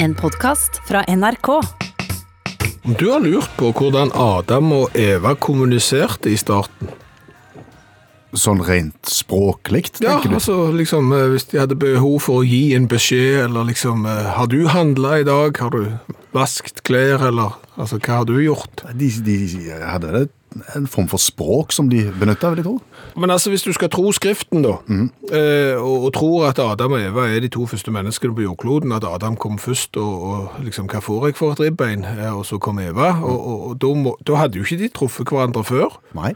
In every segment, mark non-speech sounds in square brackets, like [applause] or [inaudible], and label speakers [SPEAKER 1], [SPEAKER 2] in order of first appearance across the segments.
[SPEAKER 1] En podkast fra NRK.
[SPEAKER 2] Om du har lurt på hvordan Adam og Eva kommuniserte i starten
[SPEAKER 3] Sånn rent språklig,
[SPEAKER 2] Ja,
[SPEAKER 3] tenker du?
[SPEAKER 2] altså liksom eh, Hvis de hadde behov for å gi en beskjed, eller liksom eh, Har du handla i dag? Har du vaskt klær, eller Altså, hva har du gjort?
[SPEAKER 3] De, de hadde det en form for språk som de benytta, vil jeg tro.
[SPEAKER 2] Men altså, hvis du skal tro Skriften, da, eh, og, og tror at Adam og Eva er de to første menneskene på jordkloden, at Adam kom først, og, og liksom Hva får jeg for et ribbein? Eh, Og så kom Eva. Og, og, og da, må, da hadde jo ikke de truffet hverandre før.
[SPEAKER 3] Nei.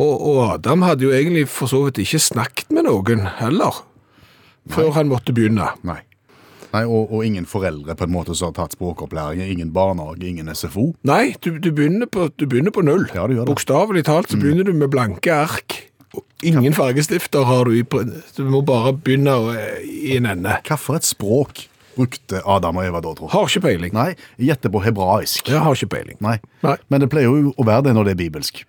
[SPEAKER 2] Og, og Adam hadde jo egentlig for så vidt ikke snakket med noen heller, før han måtte begynne.
[SPEAKER 3] Nei. Nei og, og ingen foreldre på en måte som har tatt språkopplæring. Ingen barnehage, ingen SFO.
[SPEAKER 2] Nei, du, du, begynner, på, du begynner på null.
[SPEAKER 3] Ja, du gjør det. Mm.
[SPEAKER 2] Bokstavelig talt så begynner du med blanke ark. Og Ingen fargestifter har du i pr- Du må bare begynne å, eh, i en ende.
[SPEAKER 3] Hva for et språk brukte Adam og Eva da, tro?
[SPEAKER 2] Har ikke peiling.
[SPEAKER 3] Nei, jeg gjetter på hebraisk.
[SPEAKER 2] Jeg har ikke peiling.
[SPEAKER 3] Nei.
[SPEAKER 2] Nei.
[SPEAKER 3] Men det pleier jo å være det når det er bibelsk.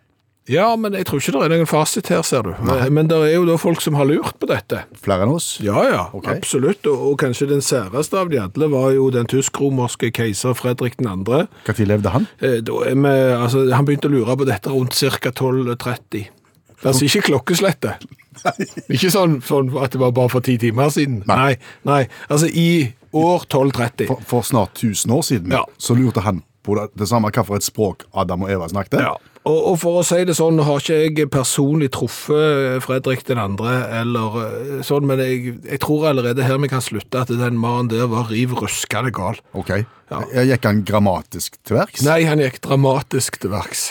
[SPEAKER 2] Ja, men jeg tror ikke det er noen fasit her, ser du. Men det er jo da folk som har lurt på dette.
[SPEAKER 3] Flere enn oss?
[SPEAKER 2] Ja, ja,
[SPEAKER 3] Ok.
[SPEAKER 2] absolutt. Og, og kanskje den særeste av de alle var jo den tysk-romerske keiser Fredrik 2.
[SPEAKER 3] Når levde han?
[SPEAKER 2] Eh, Da er vi, altså, han begynte å lure på dette rundt ca. 12.30. Altså ikke klokkeslettet. [laughs] Ikke sånn, sånn at det var bare for ti timer siden. Nei. nei. Altså i år 12.30.
[SPEAKER 3] For, for snart 1000 år siden
[SPEAKER 2] Ja.
[SPEAKER 3] så lurte han på det, det samme hva for et språk Adam og Eva snakket.
[SPEAKER 2] Ja. Og, og for å si det sånn, nå har ikke jeg personlig truffet eh, Fredrik den andre, eller eh, sånn, men jeg, jeg tror allerede her vi kan slutte at den mannen der var riv ruskende gal.
[SPEAKER 3] Ok.
[SPEAKER 2] Ja.
[SPEAKER 3] Jeg gikk han grammatisk til verks
[SPEAKER 2] Nei, han gikk dramatisk til verks.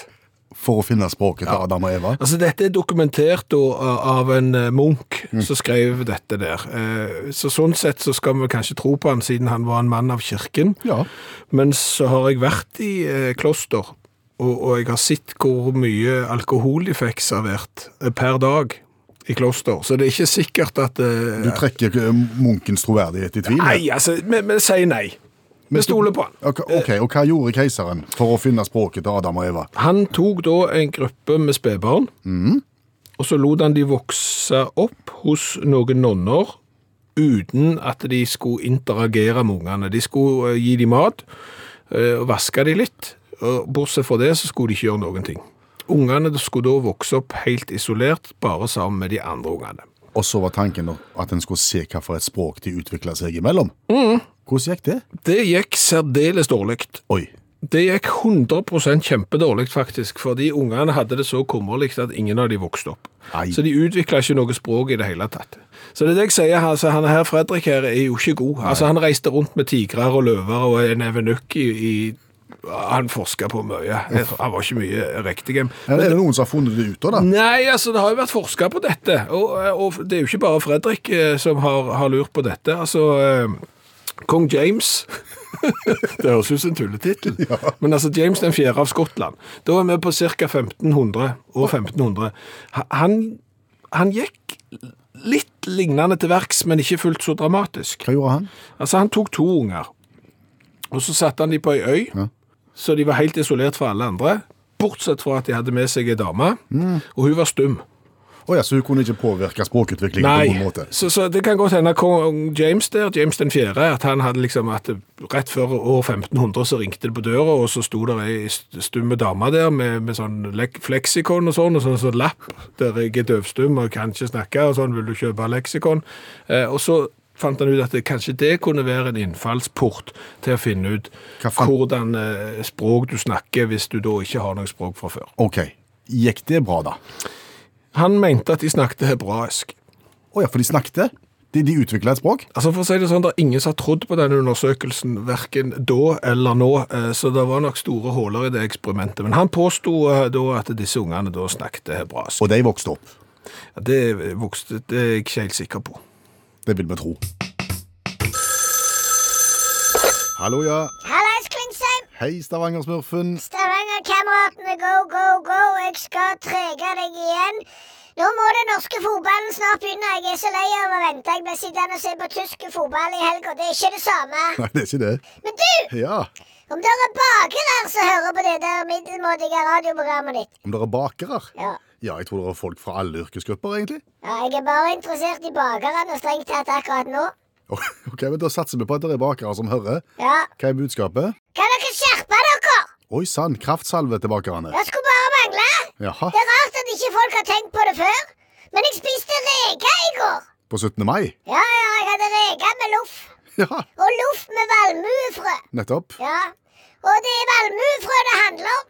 [SPEAKER 3] for å finne språket til Adam og Eva?
[SPEAKER 2] Altså, dette er dokumentert da, av en eh, munk
[SPEAKER 3] Mm.
[SPEAKER 2] som skrev dette der. Eh, Så sånn sett så skal vi kanskje tro på han, siden han var en mann av kirken.
[SPEAKER 3] Ja.
[SPEAKER 2] Men så har jeg vært i eh, kloster, og, og jeg har sett hvor mye alkohol de fikk servert eh, per dag i kloster. Så det er ikke sikkert at eh,
[SPEAKER 3] Du trekker eh, munkens troverdighet i tvil?
[SPEAKER 2] Nei, altså, vi, vi sier nei. Vi stoler på han.
[SPEAKER 3] Ok, ok, og Hva gjorde keiseren for å finne språket til Adam og Eva?
[SPEAKER 2] Han tok da en gruppe med spedbarn, og så lot han de vokse opp hos noen nonner, uten at de skulle interagere med ungene. De skulle eh, gi dem mat, eh, og vaske dem litt. og Bortsett fra det så skulle de ikke gjøre noen ting. Ungene skulle da vokse opp helt isolert, bare sammen med de andre ungene.
[SPEAKER 3] Og så var tanken at en skulle se hva for et språk de utvikla seg imellom. Hvordan gikk det?
[SPEAKER 2] Det gikk særdeles dårlig.
[SPEAKER 3] Oi.
[SPEAKER 2] Det gikk 100 kjempedårlig, faktisk, fordi ungene hadde det så kummerlig at ingen av de vokste opp.
[SPEAKER 3] Nei.
[SPEAKER 2] Så de utvikla ikke noe språk i det hele tatt. Så det er det jeg sier, altså, han her Fredrik her er jo ikke god. Altså, han reiste rundt med tigrer og løver og en evenukk i, i Han forska på mye. Jeg tror Han var ikke mye riktig.
[SPEAKER 3] Er det noen som har funnet det ut av det?
[SPEAKER 2] Nei, altså, det har jo vært forska på dette. Og, og det er jo ikke bare Fredrik eh, som har, har lurt på dette. Altså, eh, kong James [laughs] Det høres ut som en tulletittel. Men altså, James den fjerde av Skottland. Da er vi på ca. 1500 og 1500. Ha- Han, han gikk litt lignende til verks, men ikke fullt så dramatisk.
[SPEAKER 3] Hva gjorde han?
[SPEAKER 2] Altså, han tok to unger, og så satte han de på ei øy, så de var helt isolert fra alle andre, bortsett fra at de hadde med seg ei dame, og hun var stum.
[SPEAKER 3] Å ja, Så hun kunne ikke påvirke språkutviklingen på noen måte?
[SPEAKER 2] så, så det kan godt hende kong James der, James den fjerde, at han hadde liksom at rett før år 1500 så ringte det på døra, og så sto der ei st- stumme dame der med, med sånn lek- fleksikon og sånn, og sånn sånn lapp der jeg er døvstum og kan ikke snakke, og sånn vil du kjøpe leksikon. Eh, og så fant han ut at det, kanskje det kunne være en innfallsport til å finne ut
[SPEAKER 3] Hva fant-
[SPEAKER 2] hvordan eh, språk du snakker hvis du da ikke har noe språk fra før.
[SPEAKER 3] Ok. Gikk det bra, da?
[SPEAKER 2] Han mente at de snakket hebraisk.
[SPEAKER 3] Å ja, for de snakket? De, de utvikla et språk?
[SPEAKER 2] Altså for å si det sånn, Det er ingen som har trodd på den undersøkelsen, verken da eller nå, eh, så det var nok store huller i det eksperimentet. Men han påsto eh, da at disse ungene da snakket hebraisk.
[SPEAKER 3] Og de vokste opp.
[SPEAKER 2] Ja, Det vokste, det er jeg ikke helt sikker på.
[SPEAKER 3] Det vil vi tro. Hallo, ja.
[SPEAKER 4] Hallais, Klingsheim!
[SPEAKER 3] Hei, Stavanger-smurfen.
[SPEAKER 4] Stavanger-kameratene, go, go, go! Jeg skal trege deg igjen. Nå må den norske fotballen snart begynne. Jeg er så lei av å vente. Jeg ble sittende og se på tysk fotball i helga. Det er ikke det samme.
[SPEAKER 3] Nei, det er ikke det.
[SPEAKER 4] Men du,
[SPEAKER 3] Ja.
[SPEAKER 4] om det er bakere som hører på det der middelmådige radioprogrammet ditt
[SPEAKER 3] Om dere er bakere?
[SPEAKER 4] Ja.
[SPEAKER 3] Ja, jeg tror dere er folk fra alle yrkesgrupper, egentlig.
[SPEAKER 4] ja, Jeg er bare interessert i bakerne strengt tatt akkurat nå.
[SPEAKER 3] Ok, men Da satser vi på at det er bakere som hører.
[SPEAKER 4] Ja.
[SPEAKER 3] Hva er budskapet?
[SPEAKER 4] Kan dere skjerpe dere?
[SPEAKER 3] Oi sann, kraftsalve til bakerne.
[SPEAKER 4] Det skulle bare mangle.
[SPEAKER 3] Jaha,
[SPEAKER 4] Det er rart at ikke folk har tenkt på det før. Men jeg spiste reker i går.
[SPEAKER 3] på 17. mai?
[SPEAKER 4] Ja, ja, jeg hadde reker med loff.
[SPEAKER 3] Ja,
[SPEAKER 4] Og loff med valmuefrø.
[SPEAKER 3] nettopp.
[SPEAKER 4] Ja. Og det er valmuefrø det handler om.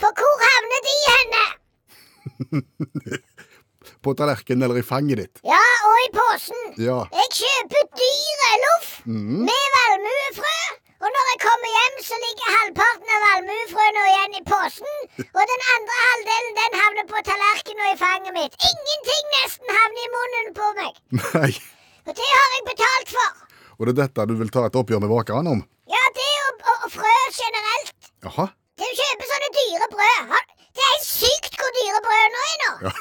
[SPEAKER 4] For hvor havner de henne?
[SPEAKER 3] På tallerkenen eller i fanget ditt.
[SPEAKER 4] Ja, og i posen.
[SPEAKER 3] Ja.
[SPEAKER 4] Jeg kjøper dyre loff med valmuefrø. Og når jeg kommer hjem, så ligger halvparten av valmuefrøene igjen i posen. Og den andre halvdelen den havner på tallerkenen og i fanget mitt. Ingenting nesten havner i munnen på meg.
[SPEAKER 3] Nei.
[SPEAKER 4] Og det har jeg betalt for.
[SPEAKER 3] Og det er dette du vil ta et oppgjør med bakerne om?
[SPEAKER 4] Ja, det og, og, og frø generelt.
[SPEAKER 3] Jaha.
[SPEAKER 4] Du kjøper sånne dyre brød. Har- Det er helt sykt hvor dyre brødene er nå.
[SPEAKER 3] Ja.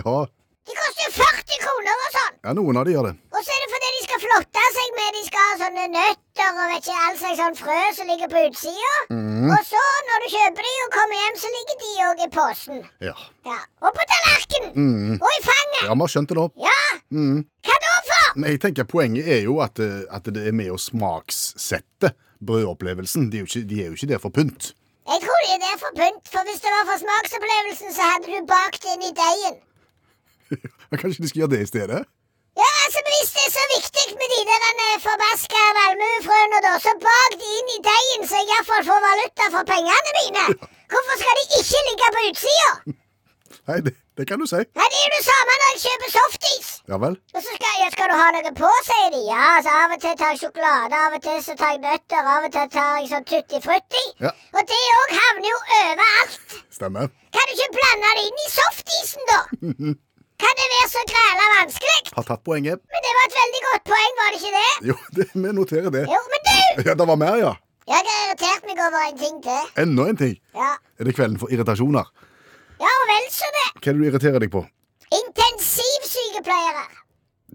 [SPEAKER 3] ja.
[SPEAKER 4] De koster jo 40 kroner og sånn.
[SPEAKER 3] Ja, noen av de gjør det.
[SPEAKER 4] Og så er det fordi de skal flotte seg med De skal ha sånne nøtter og vet ikke all slags sånn frø som ligger på utsida.
[SPEAKER 3] Mhm.
[SPEAKER 4] Og så, når du kjøper de og kommer hjem, så ligger de òg i posen.
[SPEAKER 3] Ja.
[SPEAKER 4] Ja. Og på tallerkenen. Og i fanget.
[SPEAKER 3] Mhm. Ja, Mhm. vi har skjønt det nå.
[SPEAKER 4] Ja! Hva da for?
[SPEAKER 3] Men jeg tenker Poenget er jo at, eh, at det er med å smakssette brødopplevelsen. De er jo ikke, de er jo ikke der for pynt.
[SPEAKER 4] Jeg tror de er der for pynt, for hvis det var for smaksopplevelsen, så hadde du bakt det inn i deigen.
[SPEAKER 3] Men Kanskje de skal gjøre det i stedet?
[SPEAKER 4] Ja, altså, men Hvis det er så viktig med de der eh, forbaska valmuefrøene, da, så bak de inn i deigen, så jeg iallfall får valuta for pengene mine. Hvorfor skal de ikke ligge på utsida?
[SPEAKER 3] Nei, det, det kan du si.
[SPEAKER 4] Nei, det er jo det samme når jeg kjøper softis.
[SPEAKER 3] Ja vel.
[SPEAKER 4] Og så skal, ja, skal du ha noe på, sier de. Ja, altså av og til tar jeg sjokolade, av og til så tar jeg nøtter, av og til tar jeg sånn tutti frutti.
[SPEAKER 3] Ja.
[SPEAKER 4] Og det òg havner jo overalt.
[SPEAKER 3] Stemmer.
[SPEAKER 4] Kan du ikke blande det inn i softisen, da? Kan det være så græla vanskelig?
[SPEAKER 3] Har tatt poenget.
[SPEAKER 4] Men det var et veldig godt poeng, var det ikke det?
[SPEAKER 3] Jo, det, vi noterer det.
[SPEAKER 4] Jo, men du!
[SPEAKER 3] Ja, Det var mer, ja.
[SPEAKER 4] Jeg har irritert meg over en ting til.
[SPEAKER 3] Enda en ting.
[SPEAKER 4] Ja,
[SPEAKER 3] Er det kvelden for irritasjoner?
[SPEAKER 4] ja og vel så det.
[SPEAKER 3] Hva er det du irriterer deg på?
[SPEAKER 4] Intensivsykepleiere.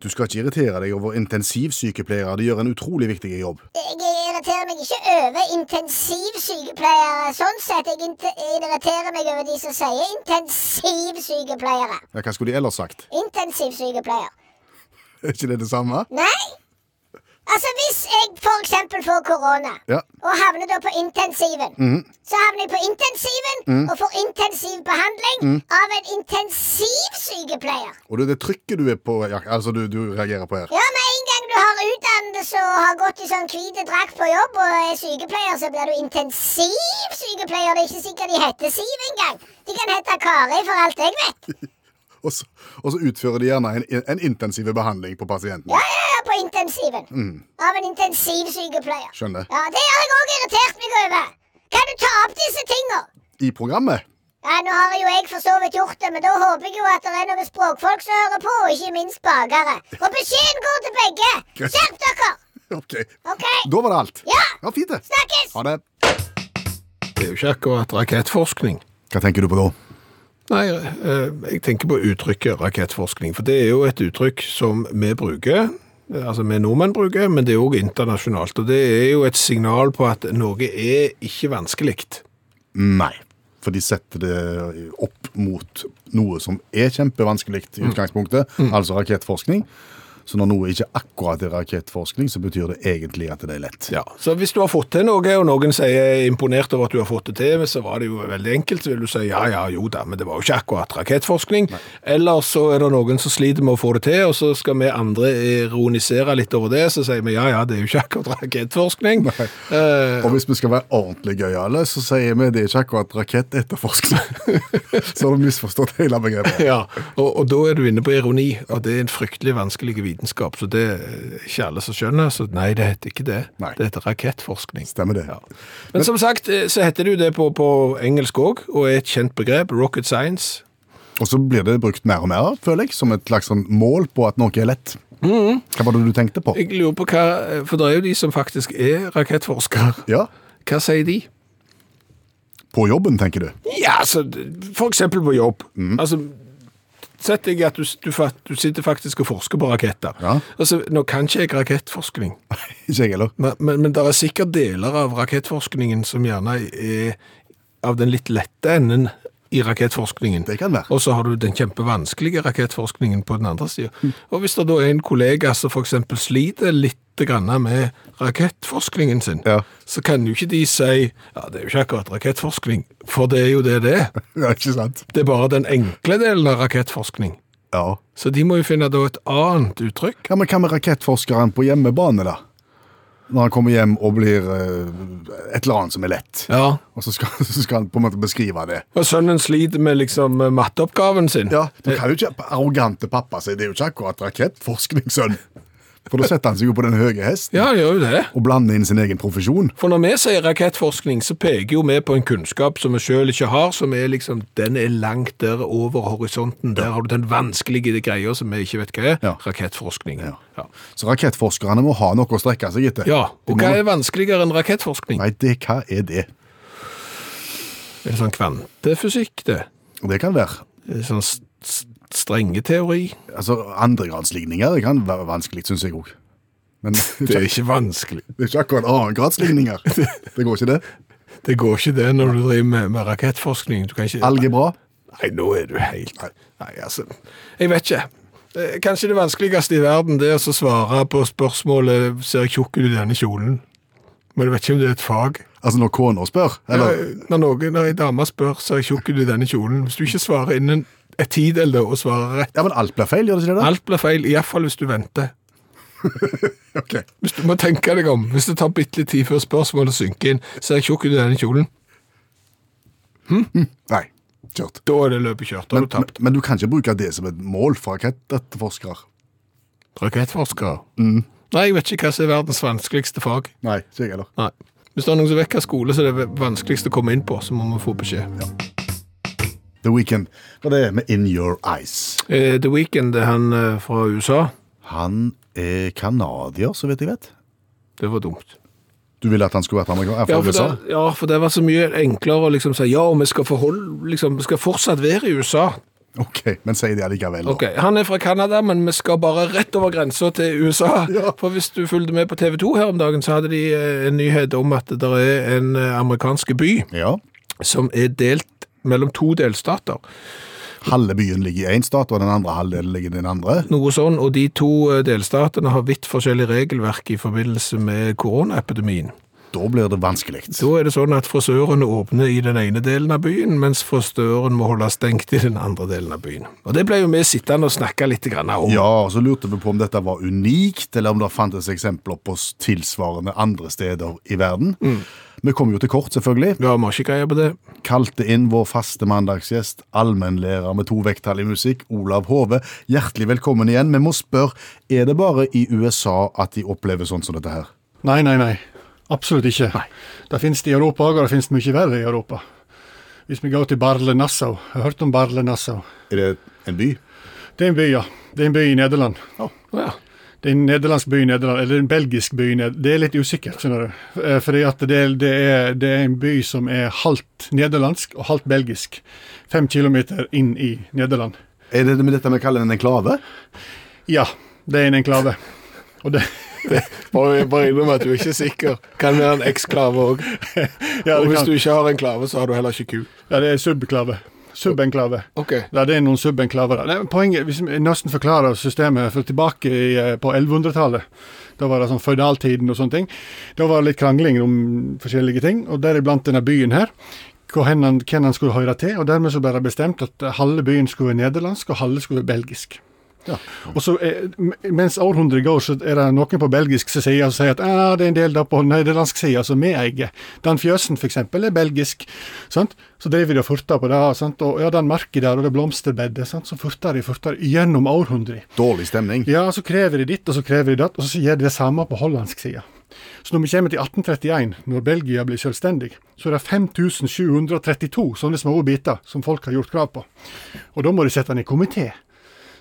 [SPEAKER 3] Du skal ikke irritere deg over intensivsykepleiere. De gjør en utrolig viktig jobb.
[SPEAKER 4] Jeg irriterer meg ikke over intensivsykepleiere. Sånn sett, jeg inte- irriterer meg over de som sier intensivsykepleiere.
[SPEAKER 3] Ja, Hva skulle de ellers sagt? [laughs]
[SPEAKER 4] Intensivsykepleier.
[SPEAKER 3] Er ikke det det samme?
[SPEAKER 4] Nei! Altså, hvis jeg for eksempel får korona,
[SPEAKER 3] Ja.
[SPEAKER 4] og havner da på intensiven, så havner jeg på intensiven og får intensiv behandling av en intensivsykepleier.
[SPEAKER 3] Og det er det trykket du er på, ja, altså du, du reagerer på her.
[SPEAKER 4] Ja, med en gang du har utdannelse og har gått i sånn hvite drakt på jobb og er sykepleier, så blir du intensivsykepleier. Det er ikke sikkert de heter Siv engang. De kan hete Kari, for alt jeg vet.
[SPEAKER 3] Og så, og så utfører de gjerne en, en intensiv behandling på pasienten.
[SPEAKER 4] Ja, ja, ja, på intensiven. Av en intensivsykepleier.
[SPEAKER 3] Skjønner.
[SPEAKER 4] Ja, det har jeg òg irritert meg over. Kan du ta opp disse tinga?
[SPEAKER 3] I programmet. [laughs]
[SPEAKER 4] Ja, nå har jo jeg for så vidt gjort det, men da håper jeg jo at det er noen språkfolk som hører på, og ikke minst bakere. Og beskjeden går til begge. Skjerp dere!
[SPEAKER 3] Ok.
[SPEAKER 4] OK?
[SPEAKER 3] Da var det alt.
[SPEAKER 4] Ja.
[SPEAKER 3] ja fint det.
[SPEAKER 4] Snakkes!
[SPEAKER 3] Ha det.
[SPEAKER 2] Det er jo ikke akkurat rakettforskning.
[SPEAKER 3] Hva tenker du på da?
[SPEAKER 2] Nei, eh, jeg tenker på uttrykket rakettforskning, for det er jo et uttrykk som vi bruker, eh, altså vi nordmenn bruker, men det er òg internasjonalt. Og det er jo et signal på at noe er ikke vanskelig.
[SPEAKER 3] Nei. For de setter det opp mot noe som er kjempevanskelig i utgangspunktet,
[SPEAKER 2] Mm.
[SPEAKER 3] altså rakettforskning. Så når noe ikke akkurat er rakettforskning, så betyr det egentlig at det er lett.
[SPEAKER 2] Ja, så hvis du har fått til noe, og noen sier jeg er imponert over at du har fått det til, så var det jo veldig enkelt, så vil du si ja, ja, jo da, men det var jo ikke akkurat rakettforskning. Eller så er det noen som sliter med å få det til, og så skal vi andre ironisere litt over det, så sier vi ja, ja, det er jo ikke akkurat rakettforskning. Eh,
[SPEAKER 3] Og hvis vi skal være ordentlig gøyale, så sier vi det er ikke akkurat rakettetterforskning. [laughs] så har du misforstått hele begrepet.
[SPEAKER 2] ja, og, og da er du inne på ironi, og det er en fryktelig vanskelig vitenskap, så det er ikke alle som skjønner, så nei, det heter ikke det.
[SPEAKER 3] Nei.
[SPEAKER 2] Det heter rakettforskning.
[SPEAKER 3] Stemmer det.
[SPEAKER 2] Ja. Men som sagt, eh, så heter det jo det på, på engelsk òg, og er et kjent begrep, rocket science.
[SPEAKER 3] Og så blir det brukt mer og mer, føler jeg, som et slags sånn mål på at noe er lett. Hva var det du tenkte på?
[SPEAKER 2] Jeg lurer på hva, For det er jo de som faktisk er rakettforskere.
[SPEAKER 3] Ja,
[SPEAKER 2] Hva sier de?
[SPEAKER 3] På jobben, tenker du. [laughs]
[SPEAKER 2] Ja, altså, for eksempel på jobb. Altså, Sett deg at du, du, fa- du sitter faktisk og forsker på raketter.
[SPEAKER 3] Ja.
[SPEAKER 2] Altså, Nå kan ikke jeg rakettforskning,
[SPEAKER 3] ikke jeg heller.
[SPEAKER 2] men, men, men det er sikkert deler av rakettforskningen som gjerne er av den litt lette enden i rakettforskningen.
[SPEAKER 3] Det kan være.
[SPEAKER 2] Og så har du den kjempevanskelige rakettforskningen på den andre sida. Og hvis det da er en kollega som f.eks. sliter litt grann med rakettforskningen sin,
[SPEAKER 3] Ja.
[SPEAKER 2] så kan jo ikke de si ja, det er jo ikke akkurat rakettforskning, for det er jo det det er.
[SPEAKER 3] Ja, ikke sant?
[SPEAKER 2] Det er bare den enkle delen av rakettforskning.
[SPEAKER 3] Ja.
[SPEAKER 2] Så de må jo finne da et annet uttrykk.
[SPEAKER 3] Hva med, hva med rakettforskeren på hjemmebane, da? Når han kommer hjem og blir eh, et eller annet som er lett.
[SPEAKER 2] Ja.
[SPEAKER 3] Og så skal, [laughs] så skal han på en måte beskrive det.
[SPEAKER 2] Og sønnen sliter med liksom matteoppgaven sin.
[SPEAKER 3] Ja, Du kan jo ikke arrogante pappa si det er jo ikke akkurat rakettforskning, sønn. For da setter han seg jo på den høye hesten
[SPEAKER 2] Ja, han gjør jo det.
[SPEAKER 3] og blander inn sin egen profesjon.
[SPEAKER 2] For når vi sier rakettforskning, så peker jo vi på en kunnskap som vi sjøl ikke har, som er liksom Den er langt der over horisonten. Der har du den vanskelige greia som vi ikke vet hva er.
[SPEAKER 3] Ja.
[SPEAKER 2] Rakettforskning.
[SPEAKER 3] Ja.
[SPEAKER 2] Ja.
[SPEAKER 3] Så rakettforskerne må ha noe å strekke seg etter.
[SPEAKER 2] ja.
[SPEAKER 3] De
[SPEAKER 2] Og
[SPEAKER 3] må-
[SPEAKER 2] hva er vanskeligere enn rakettforskning?
[SPEAKER 3] Nei, det, hva er det?
[SPEAKER 2] Er det sånn kvantefysikk, det?
[SPEAKER 3] Det kan være
[SPEAKER 2] Er det sånn s- s- strengeteori?
[SPEAKER 3] altså, Andregradsligninger det kan være vanskelig, syns jeg òg. Men [laughs] det er, ikke,
[SPEAKER 2] ikke vanskelig.
[SPEAKER 3] det er ikke akkurat annengradsligninger. Det går ikke, det.
[SPEAKER 2] Det går ikke det når du driver med, med rakettforskning. Du kan ikke
[SPEAKER 3] Algebra.
[SPEAKER 2] Nei, nå er du helt Nei, altså Jeg vet ikke. Eh, Kanskje det vanskeligste i verden det er å svare på spørsmålet 'Ser jeg tjukk ut i denne kjolen?' Men du vet ikke om det er et fag.
[SPEAKER 3] Altså når kona spør, eller
[SPEAKER 2] Eh, Når noen, når ei dame spør 'Ser jeg tjukk ut i denne kjolen?' Hvis du ikke svarer innen et tidel da, og svarer rett
[SPEAKER 3] Ja, men alt blir feil, gjør det ikke det? da?
[SPEAKER 2] Alt blir feil, iallfall hvis du venter.
[SPEAKER 3] Ok.
[SPEAKER 2] Hvis du må tenke deg om. Hvis det tar bitte litt tid før spørsmålet synker inn 'Ser jeg tjukk ut i denne kjolen?'
[SPEAKER 3] Nei, kjørt.
[SPEAKER 2] Da er det løpet kjørt. Da har
[SPEAKER 3] Men,
[SPEAKER 2] du tapt.
[SPEAKER 3] men- men du kan ikke bruke det som et mål for rakettetterforskere.
[SPEAKER 2] Rakettforskere. Nei, jeg vet ikke hva som er verdens vanskeligste fag.
[SPEAKER 3] Nei, ikke jeg heller.
[SPEAKER 2] Nei. Hvis det er noen som vekker skole, så er det vanskeligst å komme inn på, så må vi få beskjed.
[SPEAKER 3] The Weekend. Hva det er med In Your Eyes?
[SPEAKER 2] Eh, The Weeknd, det er han eh, fra USA.
[SPEAKER 3] Han er kanadier, så vidt jeg vet.
[SPEAKER 2] Det var dumt.
[SPEAKER 3] Du ville at han skulle vært amerikaner?
[SPEAKER 2] Ja
[SPEAKER 3] Fra
[SPEAKER 2] for,
[SPEAKER 3] USA?
[SPEAKER 2] det, ja, for det var så mye enklere å liksom si ja, vi skal, forhold- liksom, vi skal fortsatt være i USA.
[SPEAKER 3] Ok, men si det allikevel. da.
[SPEAKER 2] Ok, Han er fra Canada, men vi skal bare rett over grensa til USA.
[SPEAKER 3] [laughs] Ja.
[SPEAKER 2] For hvis du fulgte med på TV 2 her om dagen, så hadde de eh, en nyhet om at det er en eh, amerikansk by
[SPEAKER 3] Ja.
[SPEAKER 2] som er delt mellom to delstater.
[SPEAKER 3] Halve byen ligger i én stat, og den andre halvdelen ligger i den andre.
[SPEAKER 2] Noe sånn, og de to eh, delstatene har vidt forskjellig regelverk i forbindelse med koronaepidemien.
[SPEAKER 3] Da blir det vanskelig.
[SPEAKER 2] Da er det sånn at frisørene åpner i den ene delen av byen, mens frisøren må holde stengt i den andre delen av byen. Og det ble jo vi sittende og snakke litt grann om.
[SPEAKER 3] Ja, og så lurte vi på om dette var unikt, eller om det fantes eksempler på s- tilsvarende andre steder i verden. Vi kom jo til kort, selvfølgelig.
[SPEAKER 2] Ja, vi har ikke greie på det.
[SPEAKER 3] Kalte inn vår faste mandagsgjest, allmennlærer med to vekttall i musikk, Olav Hove. Hjertelig velkommen igjen. Vi må spørre, er det bare i USA at de opplever sånn som dette her?
[SPEAKER 5] Nei, nei, nei. Absolutt ikke. Det finnes det i Europa òg, og det finnes mye verre i Europa. Hvis vi går til Barle Nassau. Jeg har hørt om Barle Nassau.
[SPEAKER 3] Er det en by?
[SPEAKER 5] Det er en by, ja. Det er en by i Nederland.
[SPEAKER 2] Ja.
[SPEAKER 5] Det er en nederlandsk by i Nederland, eller en belgisk by i Nederland. Det er litt usikkert, skjønner du. Eh, Fordi at det, er- det, er, det er en by som er halvt nederlandsk og halvt belgisk. Fem kilometer inn i Nederland.
[SPEAKER 3] Er det med dette vi kaller en enklave?
[SPEAKER 5] Ja, det er en enklave. Og det,
[SPEAKER 2] Bare, innrømme at du er ikke sikker. Kan være en eksklave òg.
[SPEAKER 5] ja, det, kan,
[SPEAKER 2] ikke har en klave, så har du heller ikke ku.
[SPEAKER 5] ja, det er subklave. Subenklave.
[SPEAKER 2] Ok.
[SPEAKER 5] Ja, det er noen subbenklaver. Nei, men poenget, hvis vi nesten forklarer systemet for tilbake i, eh, på 1100-tallet, da var det sånn føydaltiden og sånne ting, da var det litt krangling om forskjellige ting, og deriblant denne byen her, hvor hen han, hvem han skulle høre til, og dermed så ble det bestemt at eh, halve byen skulle være nederlandsk, og halve skulle være belgisk. Og så, eh, m- Mens århundret går, så er det noen på belgisk som sier, som sier at ah, det er en del der på nederlandsk side som vi eier. Dan Fjøsen f.eks. er belgisk. Sant? Så driver de og furter på det. Sant? Og ja, den marka der og det blomsterbedet. Sant? Så furter de furter de gjennom århundrer.
[SPEAKER 3] Dårlig stemning.
[SPEAKER 5] Ja, så krever de ditt, og så krever de datt, og så gjør de det samme på hollandsk side. Så når vi kommer til 1831, når Belgia blir selvstendig, så er det 5732 sånne små biter som folk har gjort krav på. Og da må de sette den i komité.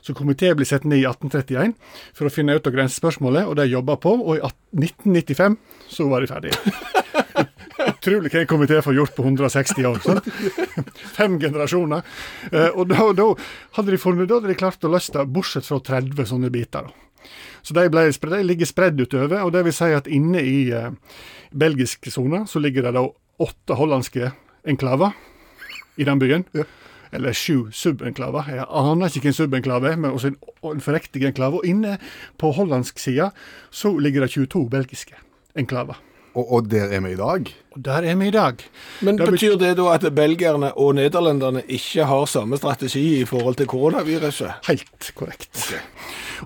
[SPEAKER 5] Så komité blir satt ned i 1831 for å finne ut av grensespørsmålet, og de jobba på, og i 18 1995 så var de ferdige. [laughs] Utrolig hva en komité får gjort på 160 år. sant? Fem generasjoner. Eh, og da, da, hadde de funnet, da hadde de klart å løse det, bortsett fra 30 sånne biter. Da. Så de, ble, spre- de ligger spredd utover, og det vil si at inne i eh, belgisk sone så ligger det da åtte hollandske enklaver. i den byen. Eller sju subenklaver. Jeg aner ikke hvilken subenklave er, men også en, og en forrektig enklave. Og inne på hollandsk side så ligger det 22 belgiske enklaver.
[SPEAKER 3] Og, og der er vi i dag.
[SPEAKER 5] Og der er vi i dag.
[SPEAKER 2] Men
[SPEAKER 5] Det er
[SPEAKER 2] betyr det da at belgierne og nederlenderne ikke har samme strategi i forhold til koronaviruset?
[SPEAKER 5] Helt korrekt.